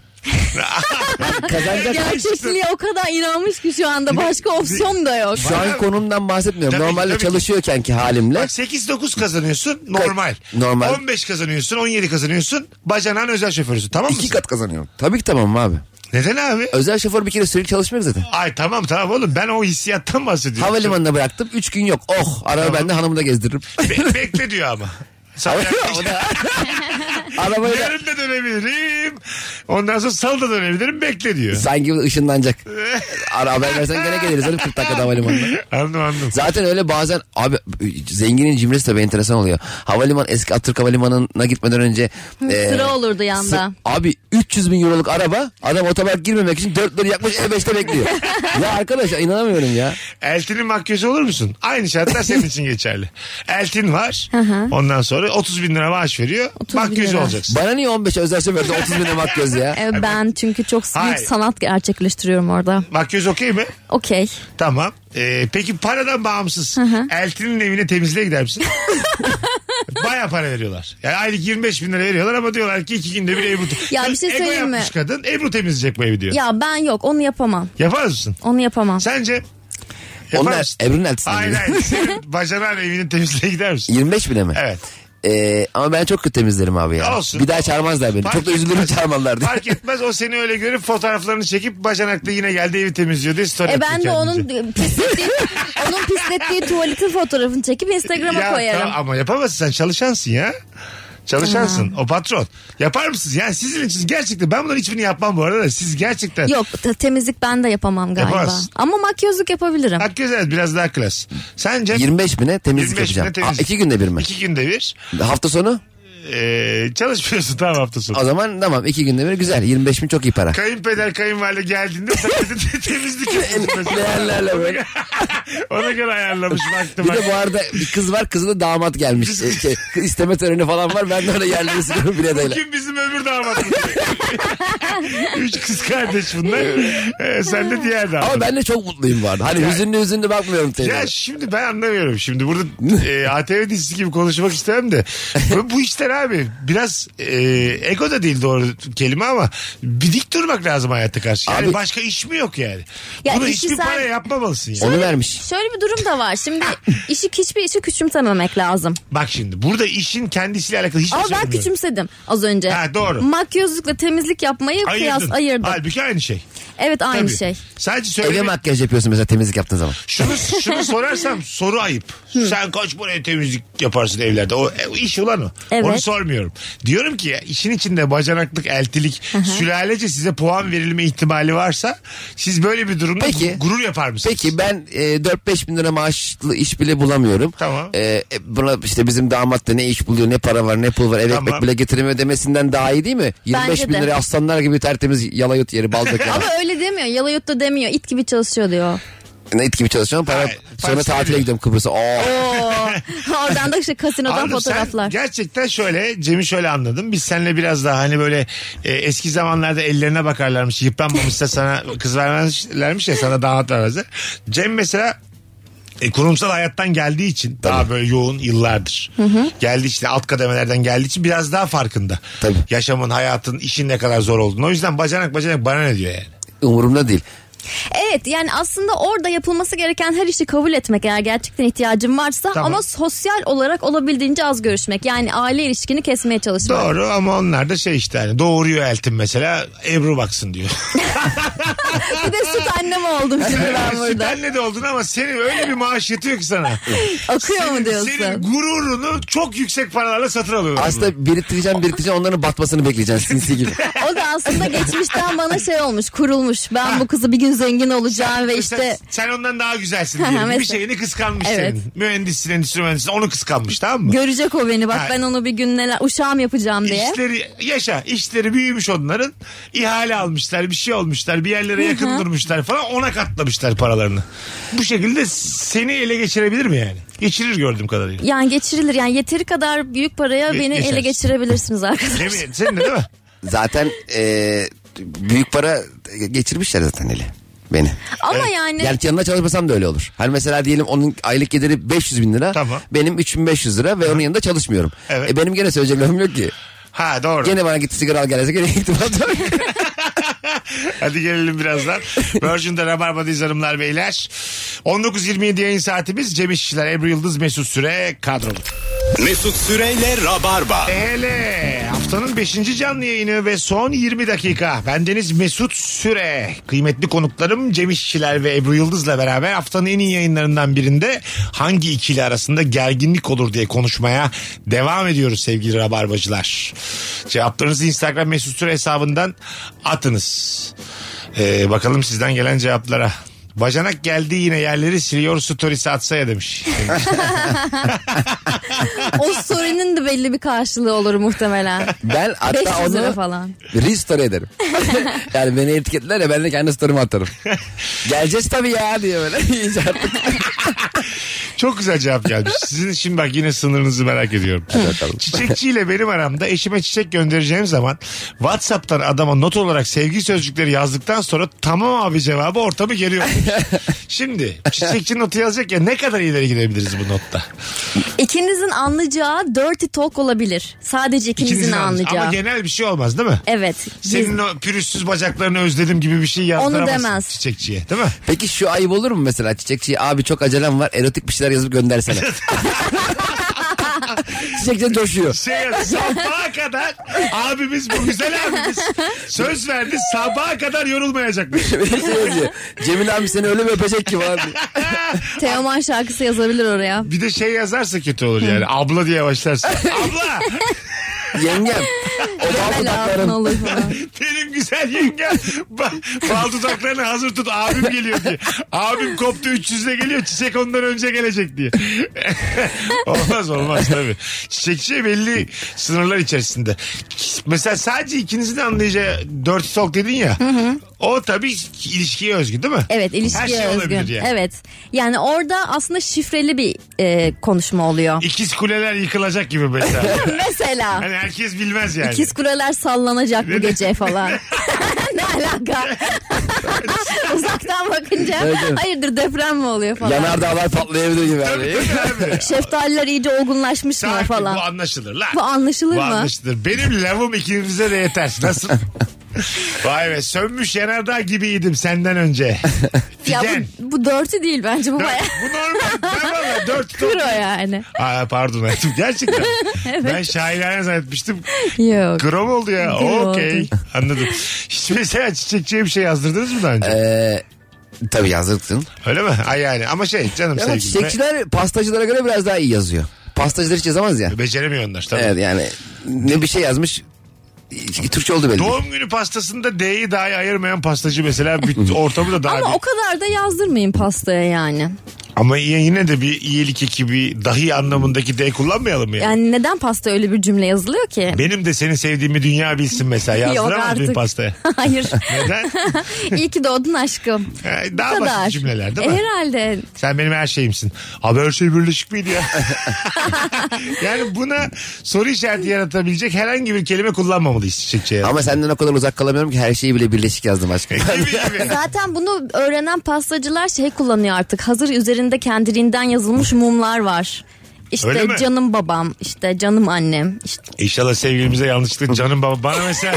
Speaker 4: Kazanacak.
Speaker 5: Gerçekliğe o kadar inanmış ki şu anda başka opsiyon da yok.
Speaker 4: Şu an konumdan bahsetmiyorum.
Speaker 3: Tabii ki,
Speaker 4: Normalde
Speaker 3: tabii ki.
Speaker 4: çalışıyorken ki halimle.
Speaker 3: Bak 8-9 kazanıyorsun normal.
Speaker 4: Normal.
Speaker 3: 15 kazanıyorsun 17 kazanıyorsun bacanağın özel şoförüsün tamam mı?
Speaker 4: iki kat kazanıyorum. Tabii ki tamam abi.
Speaker 3: Neden abi?
Speaker 4: Özel şoför bir kere sürekli çalışmıyor zaten.
Speaker 3: Ay tamam tamam oğlum ben o hissiyattan bahsediyorum.
Speaker 4: Havalimanına bıraktım. Üç gün yok. Oh. Araba bende hanımı da gezdiririm.
Speaker 3: Be- bekle diyor ama. Sana yaklaşık-
Speaker 4: O da- Arabayı da
Speaker 3: Yarın da dönebilirim. Ondan sonra salı da dönebilirim bekle diyor.
Speaker 4: sanki ışınlanacak. Ara haber versen gene geliriz. Hadi 40 dakikada havalimanına.
Speaker 3: Anladım anladım.
Speaker 4: Zaten öyle bazen abi zenginin cimrisi tabii enteresan oluyor. Havaliman eski Atatürk Havalimanı'na gitmeden önce e,
Speaker 5: Sıra olurdu
Speaker 4: sı-
Speaker 5: yanda.
Speaker 4: abi 300 bin euroluk araba adam otopark girmemek için 4 lira yakmış E5'te bekliyor. ya arkadaş inanamıyorum ya.
Speaker 3: Eltinin makyözü olur musun? Aynı şartlar senin için geçerli. Eltin var. Ondan sonra 30 bin lira maaş veriyor.
Speaker 5: 30 bin
Speaker 3: Makyözü
Speaker 5: lira.
Speaker 3: olacaksın.
Speaker 4: Bana niye 15 özel şoförde 30 bine bak göz ya.
Speaker 5: Ee, ben çünkü çok büyük
Speaker 3: Hayır.
Speaker 5: sanat gerçekleştiriyorum orada.
Speaker 3: Makyöz okey mi?
Speaker 5: Okey.
Speaker 3: Tamam. Ee, peki paradan bağımsız. Eltinin evine temizliğe gider misin? Baya para veriyorlar. Yani aylık 25 bin lira veriyorlar ama diyorlar ki iki günde bir Ebru.
Speaker 5: Ya bir
Speaker 3: Kız
Speaker 5: şey
Speaker 3: ego
Speaker 5: söyleyeyim mi?
Speaker 3: yapmış kadın Ebru temizleyecek bu evi diyor.
Speaker 5: Ya ben yok onu yapamam.
Speaker 3: Yapar mısın?
Speaker 5: Onu yapamam.
Speaker 3: Sence? Yapar
Speaker 4: Onlar
Speaker 3: mısın?
Speaker 4: Ebru'nun eltisinden
Speaker 3: Hayır
Speaker 4: geliyor.
Speaker 3: hayır. Senin bacanağın evini temizliğe gider misin?
Speaker 4: 25 bine mi?
Speaker 3: Evet.
Speaker 4: Ee, ama ben çok kötü temizlerim abi ya.
Speaker 3: Olsun.
Speaker 4: Bir daha çağırmazlar beni.
Speaker 3: Fark
Speaker 4: çok da üzülürüm
Speaker 3: etmez.
Speaker 4: çağırmadılar diye.
Speaker 3: Fark etmez o seni öyle görüp fotoğraflarını çekip bacanakta yine geldi evi temizliyor diye story
Speaker 5: E
Speaker 3: atıyor
Speaker 5: ben de
Speaker 3: kendince.
Speaker 5: onun pislettiği, onun pislettiği tuvaletin fotoğrafını çekip Instagram'a
Speaker 3: Ya
Speaker 5: koyarım.
Speaker 3: tamam ama yapamazsın sen çalışansın ya. Çalışansın o patron. Yapar mısınız? Yani sizin için gerçekten ben bunların hiçbirini yapmam bu arada da siz gerçekten.
Speaker 5: Yok te- temizlik ben de yapamam galiba.
Speaker 3: Yapamazsın.
Speaker 5: Ama makyözlük yapabilirim.
Speaker 3: Hakkı Özel biraz daha klas. Sence
Speaker 4: 25 bine temizlik yapacağım.
Speaker 3: bine temizlik.
Speaker 4: Aa, iki günde bir mi?
Speaker 3: İki günde bir.
Speaker 4: Hafta sonu?
Speaker 3: Ee, Ee, çalışmıyorsun tamam hafta sonu.
Speaker 4: O zaman tamam iki günde bir güzel. 25 bin çok iyi para.
Speaker 3: Kayınpeder kayınvalide geldiğinde sen de temizlik yapıyorsun.
Speaker 4: Değerlerle böyle.
Speaker 3: Ona göre ayarlamış vakti
Speaker 4: Bir
Speaker 3: bak.
Speaker 4: de bu arada bir kız var kızı da damat gelmiş. Ee, Şey, kız isteme töreni falan var. Ben de öyle yerleri sıkıyorum biledeyle.
Speaker 3: Kim bizim öbür damatımız? Üç kız kardeş bunlar. Ee, sen de diğer damat.
Speaker 4: Ama ben de çok mutluyum vardı. Hani hüzünlü hüzünlü bakmıyorum
Speaker 3: Ya
Speaker 4: teyze.
Speaker 3: şimdi ben anlamıyorum. Şimdi burada e, ATV dizisi gibi konuşmak istemem de. Bu, bu işler abi biraz e, ego da değil doğru kelime ama bir dik durmak lazım hayata karşı. Yani
Speaker 4: Abi-
Speaker 3: başka iş mi yok yani?
Speaker 5: Ya
Speaker 3: Bunu
Speaker 5: işi
Speaker 3: hiçbir
Speaker 5: sen-
Speaker 3: para yapmamalısın yani.
Speaker 4: Onu vermiş.
Speaker 5: Şöyle bir durum da var. Şimdi işi hiçbir işi küçümsememek lazım.
Speaker 3: Bak şimdi burada işin kendisiyle alakalı hiçbir
Speaker 5: Ama
Speaker 3: şey
Speaker 5: ben
Speaker 3: bilmiyorum.
Speaker 5: küçümsedim az önce.
Speaker 3: Ha, doğru.
Speaker 5: Makyözlükle temizlik yapmayı
Speaker 3: Ayırdın.
Speaker 5: kıyas ayırdım.
Speaker 3: Halbuki aynı şey.
Speaker 5: Evet aynı
Speaker 3: Tabii.
Speaker 5: şey.
Speaker 3: Sadece
Speaker 4: Eve
Speaker 3: söyle.
Speaker 4: makyaj yapıyorsun mesela temizlik yaptığın zaman.
Speaker 3: Şunu, şunu sorarsam soru ayıp. Sen kaç buraya temizlik yaparsın evlerde? O e, iş ulan o.
Speaker 5: Evet.
Speaker 3: Onu sormuyorum. Diyorum ki işin içinde bacanaklık, eltilik, sülalece size puan verilme ihtimali varsa siz böyle bir durumda
Speaker 4: Peki.
Speaker 3: gu- gurur yapar mısınız?
Speaker 4: Peki ben e, 4-5 bin lira maaşlı iş bile bulamıyorum.
Speaker 3: Tamam.
Speaker 4: E, e, buna işte bizim damat da ne iş buluyor ne para var ne pul var eve
Speaker 3: Tamam.
Speaker 4: ekmek bile getiremiyor demesinden daha iyi değil mi? 25
Speaker 5: Bence
Speaker 4: bin
Speaker 5: de.
Speaker 4: lira aslanlar gibi tertemiz yalayut yeri baldak yalan.
Speaker 5: Ama öyle demiyor. Yalayut da demiyor. it gibi çalışıyor diyor.
Speaker 4: ne it gibi çalışıyorum para
Speaker 3: Hayır,
Speaker 4: sonra
Speaker 3: parası
Speaker 4: tatile
Speaker 3: veriyor.
Speaker 4: gidiyorum Kıbrıs'a. Oh! Oo.
Speaker 5: Oo. Oradan da işte kasinodan
Speaker 3: Anladım. Sen
Speaker 5: fotoğraflar.
Speaker 3: gerçekten şöyle Cem'i şöyle anladım. Biz seninle biraz daha hani böyle e, eski zamanlarda ellerine bakarlarmış. Yıpranmamışsa sana kız vermezlermiş ya sana damat vermezler. Cem mesela e, kurumsal hayattan geldiği için daha böyle yoğun yıllardır. Geldiği için alt kademelerden geldiği için biraz daha farkında.
Speaker 4: Tabii.
Speaker 3: Yaşamın, hayatın, işin ne kadar zor olduğunu. O yüzden bacanak bacanak bana ne diyor yani.
Speaker 4: Umurumda değil.
Speaker 5: Evet yani aslında orada yapılması gereken her işi kabul etmek eğer gerçekten ihtiyacın varsa
Speaker 3: Tamam.
Speaker 5: ama sosyal olarak olabildiğince az görüşmek. Yani aile ilişkini kesmeye çalışmak.
Speaker 3: Doğru ama onlar da şey işte hani doğuruyor Eltin mesela Ebru baksın diyor.
Speaker 5: Bir de süt annem oldum şimdi ben burada.
Speaker 3: Sütenle de oldun ama senin öyle bir maaş yatıyor ki sana.
Speaker 5: Akıyor mu
Speaker 3: Senin
Speaker 5: diyorsun?
Speaker 3: gururunu çok yüksek paralarla satın alıyorlar.
Speaker 4: Aslında biriktireceğim biriktireceğim onların batmasını bekleyeceksin sinsi gibi.
Speaker 5: O da aslında geçmişten bana şey olmuş kurulmuş. Ben bu kızı bir gün zengin olacağım ve
Speaker 3: Mesela
Speaker 5: işte
Speaker 3: sen ondan daha güzelsin
Speaker 5: Ha,
Speaker 3: diyelim. Bir
Speaker 5: mesela.
Speaker 3: şeyini kıskanmış
Speaker 5: Evet.
Speaker 3: senin. Mühendissin, endüstri mühendissin. Onu kıskanmış tamam mı?
Speaker 5: görecek o beni bak
Speaker 3: Ha.
Speaker 5: ben onu bir gün neler uşağım yapacağım diye.
Speaker 3: İşleri yaşa işleri büyümüş onların ihale almışlar bir şey olmuşlar bir yerlere yakın durmuşlar falan ona katlamışlar paralarını. Bu şekilde seni ele geçirebilir mi yani? Geçirir gördüğüm kadarıyla.
Speaker 5: Yani geçirilir yani yeteri kadar büyük paraya
Speaker 3: Ge-
Speaker 5: beni
Speaker 3: geçersin.
Speaker 5: ele geçirebilirsiniz arkadaşlar.
Speaker 3: Yemin senin de değil mi?
Speaker 4: Zaten e, büyük para geçirmişler zaten eli beni.
Speaker 5: Ama yani
Speaker 4: Yani yanına çalışmasam da öyle olur. Hani mesela diyelim onun aylık geliri 500 bin lira.
Speaker 3: Tamam.
Speaker 4: Benim 3500 lira ve onun yanında çalışmıyorum.
Speaker 3: Evet.
Speaker 4: E benim gene söyleyecek lafım yok ki.
Speaker 3: Ha doğru.
Speaker 4: Gene bana git sigara al gelse gene ihtimal da yok.
Speaker 3: Hadi gelelim birazdan. Virgin'de Rabarba'dayız hanımlar beyler. 19.27 yayın saatimiz. Cem İşçiler, Ebru Yıldız, Mesut Süre kadrolu.
Speaker 2: Mesut Süreyle Rabarba.
Speaker 3: Hele haftanın 5. canlı yayını ve son 20 dakika. Bendeniz Mesut Süre. Kıymetli konuklarım Cem İşçiler ve Ebru Yıldız'la beraber haftanın en iyi yayınlarından birinde hangi ikili arasında gerginlik olur diye konuşmaya devam ediyoruz sevgili Rabarbacılar. Cevaplarınızı Instagram Mesut Süre hesabından atınız. Ee, bakalım sizden gelen cevaplara. Bacanak geldi yine yerleri siliyor storiesi atsa ya demiş.
Speaker 5: o sorunun da belli bir karşılığı olur muhtemelen.
Speaker 4: Ben hatta
Speaker 5: 500 lira
Speaker 4: onu
Speaker 5: falan.
Speaker 4: restore ederim. yani beni etiketler ya ben de kendi story'imi atarım. Geleceğiz tabii ya diye böyle. İyice artık.
Speaker 3: Çok güzel cevap gelmiş. Sizin şimdi bak yine sınırınızı merak ediyorum.
Speaker 4: bakalım.
Speaker 3: Çiçekçiyle benim aramda eşime çiçek göndereceğim zaman WhatsApp'tan adama not olarak sevgi sözcükleri yazdıktan sonra tamam abi cevabı ortamı geriyor. şimdi çiçekçi notu yazacak ya ne kadar ileri gidebiliriz bu notta?
Speaker 5: İkinizin anlayacağı dirty talk olabilir. Sadece ikinizin,
Speaker 3: İkinizin anlayacağı.
Speaker 5: anlayacağı.
Speaker 3: Ama genel bir şey olmaz değil mi?
Speaker 5: Evet. biz-
Speaker 3: Senin o pürüzsüz bacaklarını özledim gibi bir şey yazdıramazsın
Speaker 5: demez.
Speaker 3: çiçekçiye değil mi?
Speaker 4: Peki şu ayıp olur mu mesela çiçekçiye abi çok acelem var erotik bir şeyler yazıp göndersene. Çiçekçi coşuyor.
Speaker 3: şey yaz- sabaha kadar abimiz bu güzel abimiz söz verdi sabaha kadar yorulmayacakmış.
Speaker 4: Şey yazıyor, Cemil abi seni öyle bir öpecek ki falan diye.
Speaker 5: Teoman şarkısı yazabilir oraya.
Speaker 3: Bir de şey yazarsa kötü olur yani. Abla diye başlarsın. Abla.
Speaker 4: Yengem O bal
Speaker 5: Bel altın
Speaker 4: dudakların.
Speaker 5: olur falan.
Speaker 3: Benim güzel yengem ba- bal dudaklarını hazır tut abim geliyor diye. Abim koptu 300'le geliyor çiçek ondan önce gelecek diye. olmaz olmaz tabii. Çiçekçi belli sınırlar içerisinde. Mesela sadece ikinizin anlayacağı dört stalk dedin ya. O tabii ilişkiye özgü değil mi?
Speaker 5: Evet ilişkiye
Speaker 3: Her şey
Speaker 5: özgün.
Speaker 3: olabilir yani.
Speaker 5: Evet. Yani orada aslında şifreli bir e, konuşma oluyor.
Speaker 3: İkiz kuleler yıkılacak gibi mesela.
Speaker 5: Mesela
Speaker 3: hani herkes bilmez yani.
Speaker 5: ikiz kuleler sallanacak bu gece falan. ne alaka? Uzaktan bakınca
Speaker 4: Evet, evet.
Speaker 5: hayırdır deprem mi oluyor falan.
Speaker 4: Yanardağlar patlayabilir gibi.
Speaker 3: Tabii,
Speaker 4: Yani.
Speaker 3: tabii abi.
Speaker 5: Şeftaliler iyice olgunlaşmış mı
Speaker 3: Sakin,
Speaker 5: falan.
Speaker 3: Bu anlaşılır lan.
Speaker 5: Bu anlaşılır
Speaker 3: Bu
Speaker 5: mı?
Speaker 3: anlaşılır. Benim lavım ikimize de yeter. Nasıl? Vay be sönmüş yanardağ gibiydim senden önce.
Speaker 5: Ya
Speaker 3: Figen.
Speaker 5: bu, bu dörtü değil bence bu
Speaker 3: Dört-
Speaker 5: baya
Speaker 3: bu normal. Ben valla dört top.
Speaker 5: kro yani.
Speaker 3: Aa, pardon hayatım gerçekten. Ben şairane zannetmiştim.
Speaker 5: Yok.
Speaker 3: Krom oldu ya.
Speaker 5: Krom oldu.
Speaker 3: Okey. Anladım. Hiç mesela çiçekçiye bir şey yazdırdınız mı daha önce?
Speaker 4: Ee, tabii yazdırdın.
Speaker 3: Öyle mi? Ay yani ama şey canım
Speaker 4: Ama
Speaker 3: sevgilim.
Speaker 4: çiçekçiler pastacılara göre biraz daha iyi yazıyor. Pastacılar hiç yazamaz ya.
Speaker 3: Be- Beceremiyor onlar tabii.
Speaker 4: Evet yani ne bir şey yazmış Türkçe oldu belli.
Speaker 3: Doğum günü pastasında D'yi dahi ayırmayan pastacı mesela bütün ortamı da daha
Speaker 5: Ama o kadar da yazdırmayın pastaya yani.
Speaker 3: Ama y- yine de bir iyilik ekibi dahi anlamındaki D kullanmayalım ya.
Speaker 5: Yani neden pasta öyle bir cümle yazılıyor ki?
Speaker 3: Benim de seni sevdiğimi dünya bilsin mesela. Yazdıramaz mıyım
Speaker 5: artık.
Speaker 3: pastaya?
Speaker 5: Hayır.
Speaker 3: Neden?
Speaker 5: İyi ki doğdun aşkım.
Speaker 3: Ee,
Speaker 5: Bu
Speaker 3: Daha
Speaker 5: kadar.
Speaker 3: basit cümleler değil mi?
Speaker 5: E, herhalde.
Speaker 3: Sen benim her şeyimsin. Abi her şey birleşik miydi ya? yani buna soru işareti yaratabilecek herhangi bir kelime kullanmamalıyız çiçekçiye.
Speaker 4: Ama senden o kadar uzak kalamıyorum ki her şeyi bile birleşik yazdım aşkım.
Speaker 3: gibi gibi.
Speaker 5: Zaten bunu öğrenen pastacılar şey kullanıyor artık. Hazır üzerinde kendiliğinden yazılmış mumlar var.
Speaker 3: Öyle
Speaker 5: İşte
Speaker 3: mi?
Speaker 5: canım babam, işte canım annem. İşte
Speaker 3: İnşallah sevgilimize yanlışlıkla canım babam. Bana mesela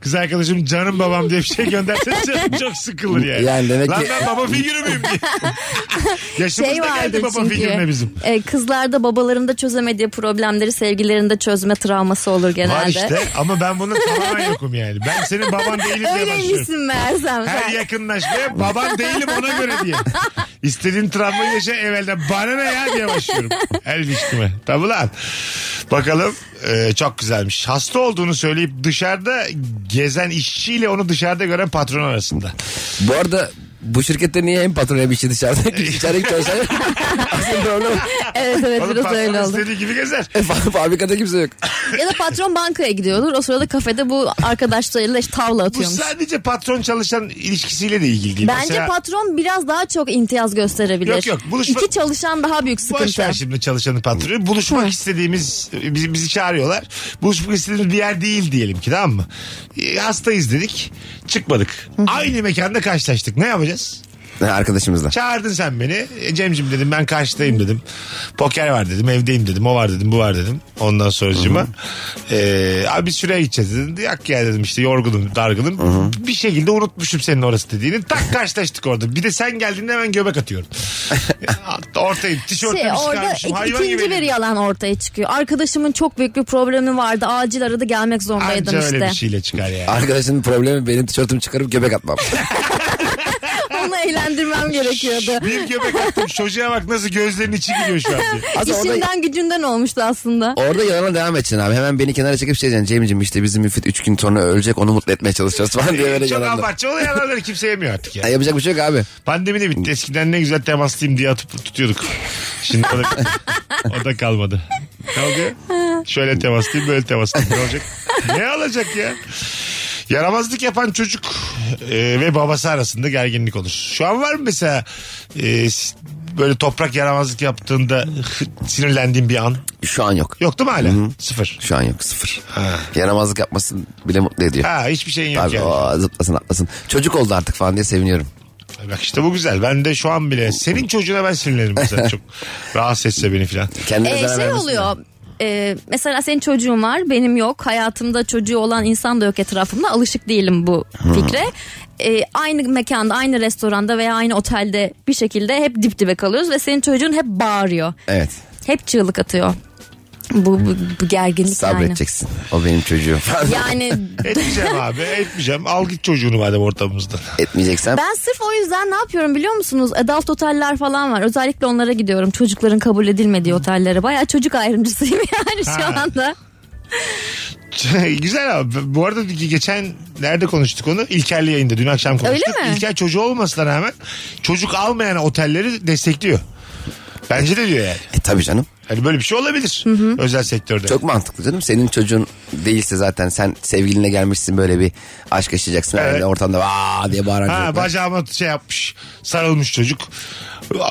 Speaker 3: kız arkadaşım canım babam diye bir şey gönderseniz canım çok sıkılır yani.
Speaker 4: Yani demek
Speaker 3: Lan
Speaker 4: ki-
Speaker 3: ben baba figürü müyüm diye. Yaşımız
Speaker 5: şey
Speaker 3: da geldi
Speaker 5: vardır
Speaker 3: baba figürüne
Speaker 5: çünkü.
Speaker 3: bizim.
Speaker 5: E, kızlarda babalarında çözemediği problemleri sevgilerinde çözme travması olur genelde.
Speaker 3: Var işte ama ben bunun tamamen yokum yani. Ben senin baban değilim diye başlıyorum.
Speaker 5: Öyleymişsin meğersem
Speaker 3: Her
Speaker 5: sen.
Speaker 3: yakınlaşmaya baban değilim ona göre diye. İstediğin travmayı yaşa evvelden. Bana ne ya diye başlıyorum. Her ilişkime. Tabi lan. Bakalım e, çok güzelmiş. Hasta olduğunu söyleyip dışarıda gezen işçiyle onu dışarıda gören patron arasında.
Speaker 4: Bu arada bu şirkette niye hem patron hem işçi dışarıda? İçerideki çalışan aslında orada
Speaker 5: Evet evet
Speaker 3: Oğlum
Speaker 5: biraz öyle
Speaker 3: patron
Speaker 5: oldu.
Speaker 3: istediği gibi gezer.
Speaker 4: fa- fabrikada kimse yok.
Speaker 5: Ya da patron bankaya gidiyordur. O sırada kafede bu arkadaşlarıyla işte tavla
Speaker 3: Bu
Speaker 5: atıyormuş.
Speaker 3: sadece patron çalışan ilişkisiyle de ilgili değil.
Speaker 5: Bence
Speaker 3: Mesela-
Speaker 5: patron biraz daha çok imtiyaz gösterebilir.
Speaker 3: Yok, yok, buluşma-
Speaker 5: İki çalışan daha büyük
Speaker 3: Boş ver
Speaker 5: sıkıntı.
Speaker 3: şimdi çalışanı patronu. Buluşmak
Speaker 5: Hı.
Speaker 3: istediğimiz bizi, bizi çağırıyorlar. Buluşmak istediğimiz bir yer değil diyelim ki tamam mı? E, Hastayız dedik. Çıkmadık. Aynı mekanda karşılaştık. Ne yapacağız?
Speaker 4: Ha, Arkadaşımızla.
Speaker 3: Çağırdın sen beni. E, Cemcim dedim ben karşıdayım dedim. Poker var dedim. Evdeyim dedim. O var dedim. Bu var dedim. Ondan sonracığıma. E, abi biz şuraya gideceğiz dedim. Yak ya dedim işte yorgunum dargınım. Bir şekilde unutmuşum senin orası dediğini. Tak karşılaştık orada. Bir de sen geldiğinde hemen göbek atıyorum. Ortayım. Tişörtümü
Speaker 5: Şey, orada
Speaker 3: çıkarmışım.
Speaker 5: ik-
Speaker 3: hayvan
Speaker 5: ikinci
Speaker 3: gibi.
Speaker 5: bir yalan ortaya çıkıyor. Arkadaşımın çok büyük bir problemi vardı. Acil aradı gelmek zorundaydım
Speaker 3: Anca öyle
Speaker 5: işte.
Speaker 3: bir şeyle çıkar yani.
Speaker 4: Arkadaşının problemi benim tişörtümü çıkarıp göbek atmam.
Speaker 3: şey.
Speaker 5: Onu eğlendirmem gerekiyordu.
Speaker 3: Bir göbek attım çocuğa bak nasıl gözlerinin içi gidiyor şu an diye.
Speaker 4: Aslında
Speaker 5: İşinden
Speaker 4: orada,
Speaker 5: gücünden olmuştu aslında.
Speaker 4: orada yalana devam edeceksin abi. Hemen beni kenara çekip şey diyeceksin. Cem'ciğim işte bizim Müfit 3 gün sonra ölecek onu mutlu etmeye çalışacağız falan diye böyle
Speaker 3: Çok
Speaker 4: yalanla.
Speaker 3: abartı olan yalanları kimse yemiyor artık
Speaker 4: Ya
Speaker 3: ya.
Speaker 4: yapacak bir şey yok abi.
Speaker 3: Pandemi de bitti. Eskiden ne güzel temaslıyım diye atıp tutuyorduk. Şimdi o da, o da kalmadı. Ne oluyor? Şöyle temaslıyım böyle temaslıyım. Ne olacak? Ne olacak ya? Yaramazlık yapan çocuk e, ve babası arasında gerginlik olur. Şu an var mı mesela e, s- böyle toprak yaramazlık yaptığında sinirlendiğin bir an?
Speaker 4: Şu an yok.
Speaker 3: Yok değil mi hala? Sıfır.
Speaker 4: Şu an yok sıfır. Yaramazlık yapmasın bile mutlu ediyor.
Speaker 3: Ha hiçbir şeyin yok
Speaker 4: Abi
Speaker 3: yani.
Speaker 4: o zıplasın atlasın. Çocuk oldu artık falan diye seviniyorum.
Speaker 3: Bak işte bu güzel. Ben de şu an bile senin çocuğuna ben sinirlenirim mesela çok. Rahatsız etse beni filan.
Speaker 4: Kendine
Speaker 5: Ee,
Speaker 4: zarar
Speaker 5: şey
Speaker 4: vermesin
Speaker 5: oluyor. e, mesela senin çocuğun var benim yok hayatımda çocuğu olan insan da yok etrafımda alışık değilim bu fikre E, aynı mekanda aynı restoranda veya aynı otelde bir şekilde hep dip dibe kalıyoruz ve senin çocuğun hep bağırıyor
Speaker 4: diye. Evet.
Speaker 5: hep çığlık atıyor bu, bu, bu gerginlik yani.
Speaker 4: Sabredeceksin. O benim çocuğum.
Speaker 5: Yani
Speaker 3: Etmeyeceğim abi etmeyeceğim. Al git çocuğunu madem ortamımızda.
Speaker 4: Etmeyeceksen.
Speaker 5: ben sırf o yüzden ne yapıyorum biliyor musunuz? Adult oteller falan var. Özellikle onlara gidiyorum. Çocukların kabul edilmediği otellere. Bayağı çocuk ayrımcısıyım yani şu
Speaker 3: Ha.
Speaker 5: anda.
Speaker 3: Güzel abi. Bu arada geçen nerede konuştuk onu? İlker'li yayında dün akşam konuştuk.
Speaker 5: Öyle mi?
Speaker 3: İlker çocuğu olmasına rağmen çocuk almayan otelleri destekliyor. Bence de diyor yani.
Speaker 4: E tabii canım.
Speaker 3: Hani böyle bir şey olabilir özel sektörde.
Speaker 4: Çok mantıklı canım. Senin çocuğun değilse zaten sen sevgiline gelmişsin böyle bir aşk yaşayacaksın.
Speaker 3: Evet.
Speaker 4: Öyle ortamda aa diye bağıran
Speaker 3: Ha
Speaker 4: çocuklar.
Speaker 3: bacağıma şey yapmış. Sarılmış çocuk.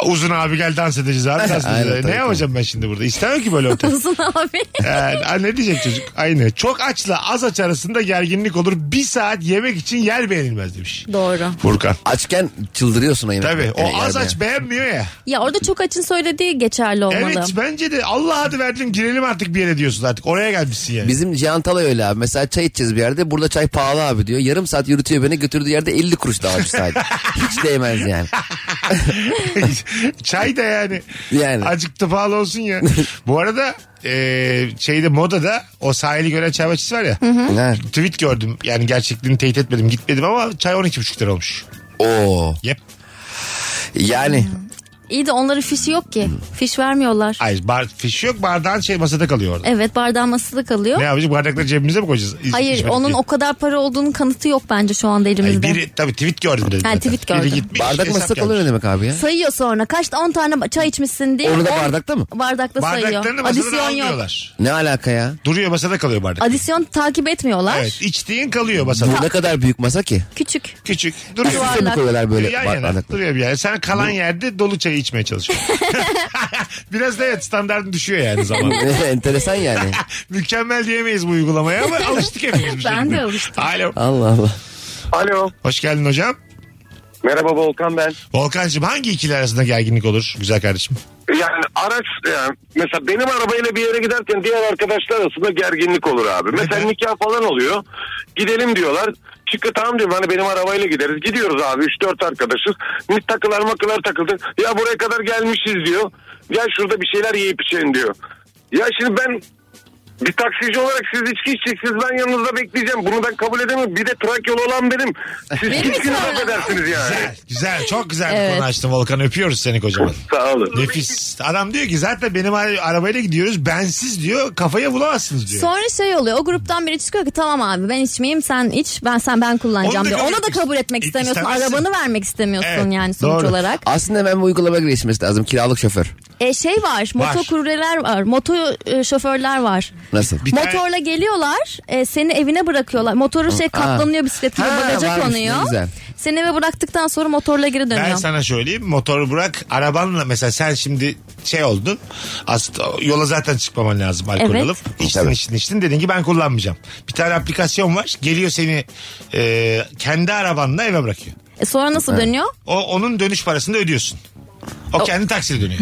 Speaker 3: Uzun abi gel dans edeceğiz abi. Dans
Speaker 4: Aynen,
Speaker 3: edeceğiz.
Speaker 4: tabii,
Speaker 3: ne
Speaker 4: tabii.
Speaker 3: yapacağım ben şimdi burada? İstemem ki böyle otel.
Speaker 5: Uzun abi.
Speaker 3: Yani, ha, ne diyecek çocuk? Aynı. Çok açla az aç arasında gerginlik olur. Bir saat yemek için yer beğenilmez demiş.
Speaker 5: Doğru.
Speaker 3: Furkan.
Speaker 4: Açken çıldırıyorsun o yemek.
Speaker 3: Tabii o
Speaker 4: Yani
Speaker 3: az
Speaker 4: yani.
Speaker 3: aç beğenmiyor ya.
Speaker 5: Ya orada çok açın söylediği geçerli olmalı.
Speaker 3: Evet bence de Allah adı verdim girelim artık bir yere diyorsun artık. Oraya gelmişsin yani.
Speaker 4: Bizim Cihan Talay öyle abi. Mesela çay içeceğiz bir yerde. Burada çay pahalı abi diyor. Yarım saat yürütüyor beni. Götürdüğü yerde 50 kuruş daha ucuz sadece. Hiç değmez yani.
Speaker 3: Çay da yani.
Speaker 4: Yani.
Speaker 3: Azıcık da pahalı olsun ya. Bu arada e, şeyde modada o sahili gören çay bahçesi var ya.
Speaker 4: Ha.
Speaker 3: Tweet gördüm yani gerçekliğini teyit etmedim gitmedim ama çay 12,5 lira olmuş.
Speaker 4: Oo.
Speaker 3: Yep.
Speaker 4: Yani
Speaker 5: İyi de onların fişi yok ki. Fiş vermiyorlar.
Speaker 3: Hayır bar, fiş yok bardağın şey masada kalıyor orada.
Speaker 5: Evet bardağın masada kalıyor.
Speaker 3: Ne yapacağız bardakları cebimize mi koyacağız? İz-
Speaker 5: Hayır
Speaker 3: içmedik
Speaker 5: onun
Speaker 3: diye.
Speaker 5: o kadar para olduğunun kanıtı yok bence şu anda
Speaker 3: Hayır,
Speaker 5: elimizde.
Speaker 3: biri tabii tweet gördüm dedim.
Speaker 5: Ha,
Speaker 3: zaten.
Speaker 5: tweet
Speaker 3: Biri
Speaker 5: gördüm.
Speaker 3: gitmiş,
Speaker 4: bardak
Speaker 3: hesap
Speaker 4: masada
Speaker 3: gelmiş.
Speaker 4: kalıyor ne demek abi ya?
Speaker 5: Sayıyor sonra kaçta 10 tane çay içmişsin diye.
Speaker 4: Onu da
Speaker 5: On-
Speaker 4: bardakta mı?
Speaker 5: Bardakta sayıyor.
Speaker 3: Bardaklarını masadan
Speaker 5: Adisyon yok.
Speaker 3: almıyorlar.
Speaker 4: Ne alaka ya?
Speaker 3: Duruyor masada kalıyor bardak.
Speaker 5: Adisyon takip etmiyorlar.
Speaker 3: Evet içtiğin kalıyor masada.
Speaker 4: Bu ne kadar büyük masa ki?
Speaker 5: Küçük.
Speaker 3: Küçük. Duruyor
Speaker 5: Duvarlar.
Speaker 4: Size mi koyuyorlar böyle
Speaker 3: yan
Speaker 4: bar-
Speaker 3: yana
Speaker 4: bardakla?
Speaker 3: duruyor bir yerde. Sen kalan yerde dolu çayı içmeye çalışıyorsun. Biraz da evet standartın düşüyor yani zamanla.
Speaker 4: Enteresan yani.
Speaker 3: Mükemmel diyemeyiz bu uygulamaya ama alıştık hepimiz bir
Speaker 5: Ben
Speaker 3: şekilde.
Speaker 5: de alıştım.
Speaker 3: Alo.
Speaker 4: Allah Allah.
Speaker 8: Alo.
Speaker 3: Hoş geldin hocam.
Speaker 8: Merhaba Volkan ben.
Speaker 3: Volkan'cığım hangi ikili arasında gerginlik olur güzel kardeşim?
Speaker 8: Yani araç yani mesela benim arabayla bir yere giderken diğer arkadaşlar arasında gerginlik olur abi. Mesela
Speaker 3: Neden?
Speaker 8: nikah falan oluyor. Gidelim diyorlar. Çıkı tamam diyorum hani benim arabayla gideriz. Gidiyoruz abi 3-4 arkadaşız. Ne takılar makılar takıldı. Ya buraya kadar gelmişiz diyor. Ya şurada bir şeyler yiyip içelim diyor. Ya şimdi ben bir taksici olarak siz içki içeceksiniz ben yanınızda bekleyeceğim. Bunu ben kabul edemem. Bir de Trakyalı olan benim. Siz
Speaker 5: Benim
Speaker 8: kimsiniz
Speaker 5: ısrarım.
Speaker 8: affedersiniz yani.
Speaker 3: Güzel, güzel çok güzel bir
Speaker 5: Evet.
Speaker 3: konu açtın Volkan öpüyoruz seni kocaman.
Speaker 8: Sağ olun.
Speaker 3: Nefis. Adam diyor ki zaten benim ara- arabayla gidiyoruz bensiz diyor kafaya bulamazsınız diyor.
Speaker 5: Sonra şey oluyor. O gruptan biri çıkıyor ki tamam abi ben içmeyeyim sen iç ben sen ben
Speaker 3: Onu
Speaker 5: kullanacağım
Speaker 3: da
Speaker 5: diyor.
Speaker 3: kabul
Speaker 5: Onu da
Speaker 3: etmek-
Speaker 5: kabul etmek
Speaker 3: İ-
Speaker 5: istemiyorsun.
Speaker 3: istemezsin.
Speaker 5: Arabanı vermek istemiyorsun
Speaker 3: Evet,
Speaker 5: yani sonuç
Speaker 3: doğru.
Speaker 5: olarak.
Speaker 4: Aslında hemen bu uygulamaya geçmesi lazım. Kiralık şoför.
Speaker 5: E şey var, moto kuryeler var, moto e, şoförler var.
Speaker 4: Nasıl?
Speaker 3: Bir tane-
Speaker 5: Motorla geliyorlar, e, seni evine bırakıyorlar. Motoru şey katlanıyor bisikletiyle
Speaker 4: Ha,
Speaker 5: bagaja
Speaker 4: varmış, ne
Speaker 5: konuyor.
Speaker 4: güzel.
Speaker 5: Seni eve bıraktıktan sonra motorla geri dönüyor.
Speaker 3: Ben sana söyleyeyim motoru bırak arabanla mesela sen şimdi şey oldun aslında yola zaten çıkmaman lazım alkol
Speaker 5: Evet.
Speaker 3: alıp içtin
Speaker 4: Tabii.
Speaker 3: içtin içtin dedin ki ben kullanmayacağım. Bir tane aplikasyon var geliyor seni e, kendi arabanla eve bırakıyor.
Speaker 5: E, sonra nasıl dönüyor?
Speaker 3: O onun dönüş parasını da ödüyorsun. O kendi taksiyle dönüyor.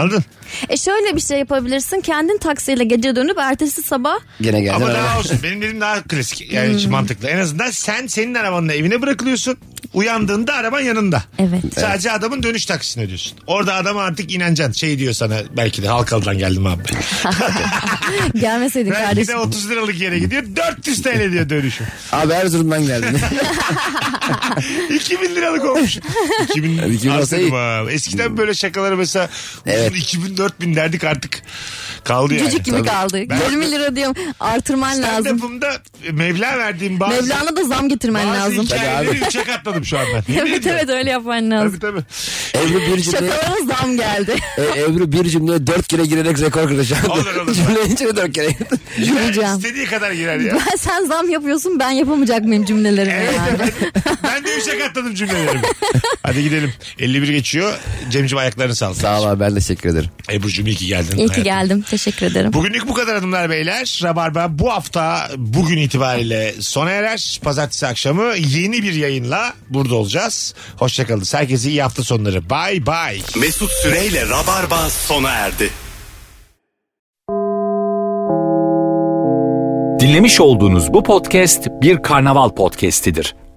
Speaker 3: Anladın?
Speaker 5: E şöyle bir şey yapabilirsin. Kendin taksiyle gece dönüp ertesi sabah
Speaker 4: Gene geldi.
Speaker 3: Ama
Speaker 4: araba.
Speaker 3: daha olsun. Benim dediğim daha klasik. Yani
Speaker 5: Hmm.
Speaker 3: hiç mantıklı. En azından sen senin arabanla evine bırakılıyorsun. Uyandığında araban yanında.
Speaker 5: Evet.
Speaker 3: Sadece adamın dönüş taksini ödüyorsun. Orada adama artık inanacaksın. Şey diyor sana belki de Halkalı'dan geldim abi.
Speaker 5: gelmeseydin
Speaker 3: Belki de
Speaker 5: kardeşim.
Speaker 3: 30 liralık yere gidiyor. 400 TL diyor dönüşüm.
Speaker 4: Abi Erzurum'dan geldin.
Speaker 3: 2000 liralık olmuş. 2000,
Speaker 4: Hadi 2000 olsa
Speaker 3: Artık
Speaker 4: iyi.
Speaker 3: ha. Eskiden böyle şakaları mesela
Speaker 4: Evet.
Speaker 3: evet. 2000 4000 derdik artık. Kaldı yani.
Speaker 5: Cücük gibi kaldı.
Speaker 3: Ben-
Speaker 5: 20 lira diyorum. Artırman lazım.
Speaker 3: Stand-up'ımda Mevla verdiğim bazı,
Speaker 5: Mevlana da zam getirmen
Speaker 3: bazı
Speaker 5: lazım.
Speaker 3: hikayeleri üçe katladım şu an ben. Yemin
Speaker 5: evet
Speaker 3: ediyorum.
Speaker 5: evet öyle yapman lazım.
Speaker 3: Tabii tabii.
Speaker 4: Ebru bir cümleye,
Speaker 5: Şakalara zam geldi.
Speaker 4: e, Ebru bir cümleye dört kere girerek rekor kıracak.
Speaker 3: Olur, olur.
Speaker 4: Cümlenin içine dört kere girdi.
Speaker 5: Yürüyeceğim.
Speaker 3: İstediği kadar girer ya.
Speaker 5: Ben sen zam yapıyorsun ben yapamayacak mıyım cümlelerimi
Speaker 3: Evet,
Speaker 5: herhalde.
Speaker 3: ben de üçe katladım cümlelerimi. Hadi gidelim. 51 geçiyor. Cemciğim ayaklarını sağ
Speaker 4: Sağ ol abi ben teşekkür ederim.
Speaker 3: Ebru'cum iyi ki geldin.
Speaker 5: İyi ki
Speaker 3: hayatım.
Speaker 5: geldim. Teşekkür ederim.
Speaker 3: Bugünlük bu kadar hanımlar beyler. Rabarba bu hafta bugün itibariyle sona erer. Pazartesi akşamı yeni bir yayınla burada olacağız. Hoşçakalın. Herkese iyi hafta sonları. Bay bay.
Speaker 2: Mesut Süreyle Rabarba sona erdi.
Speaker 1: Dinlemiş olduğunuz bu podcast bir karnaval podcastidir.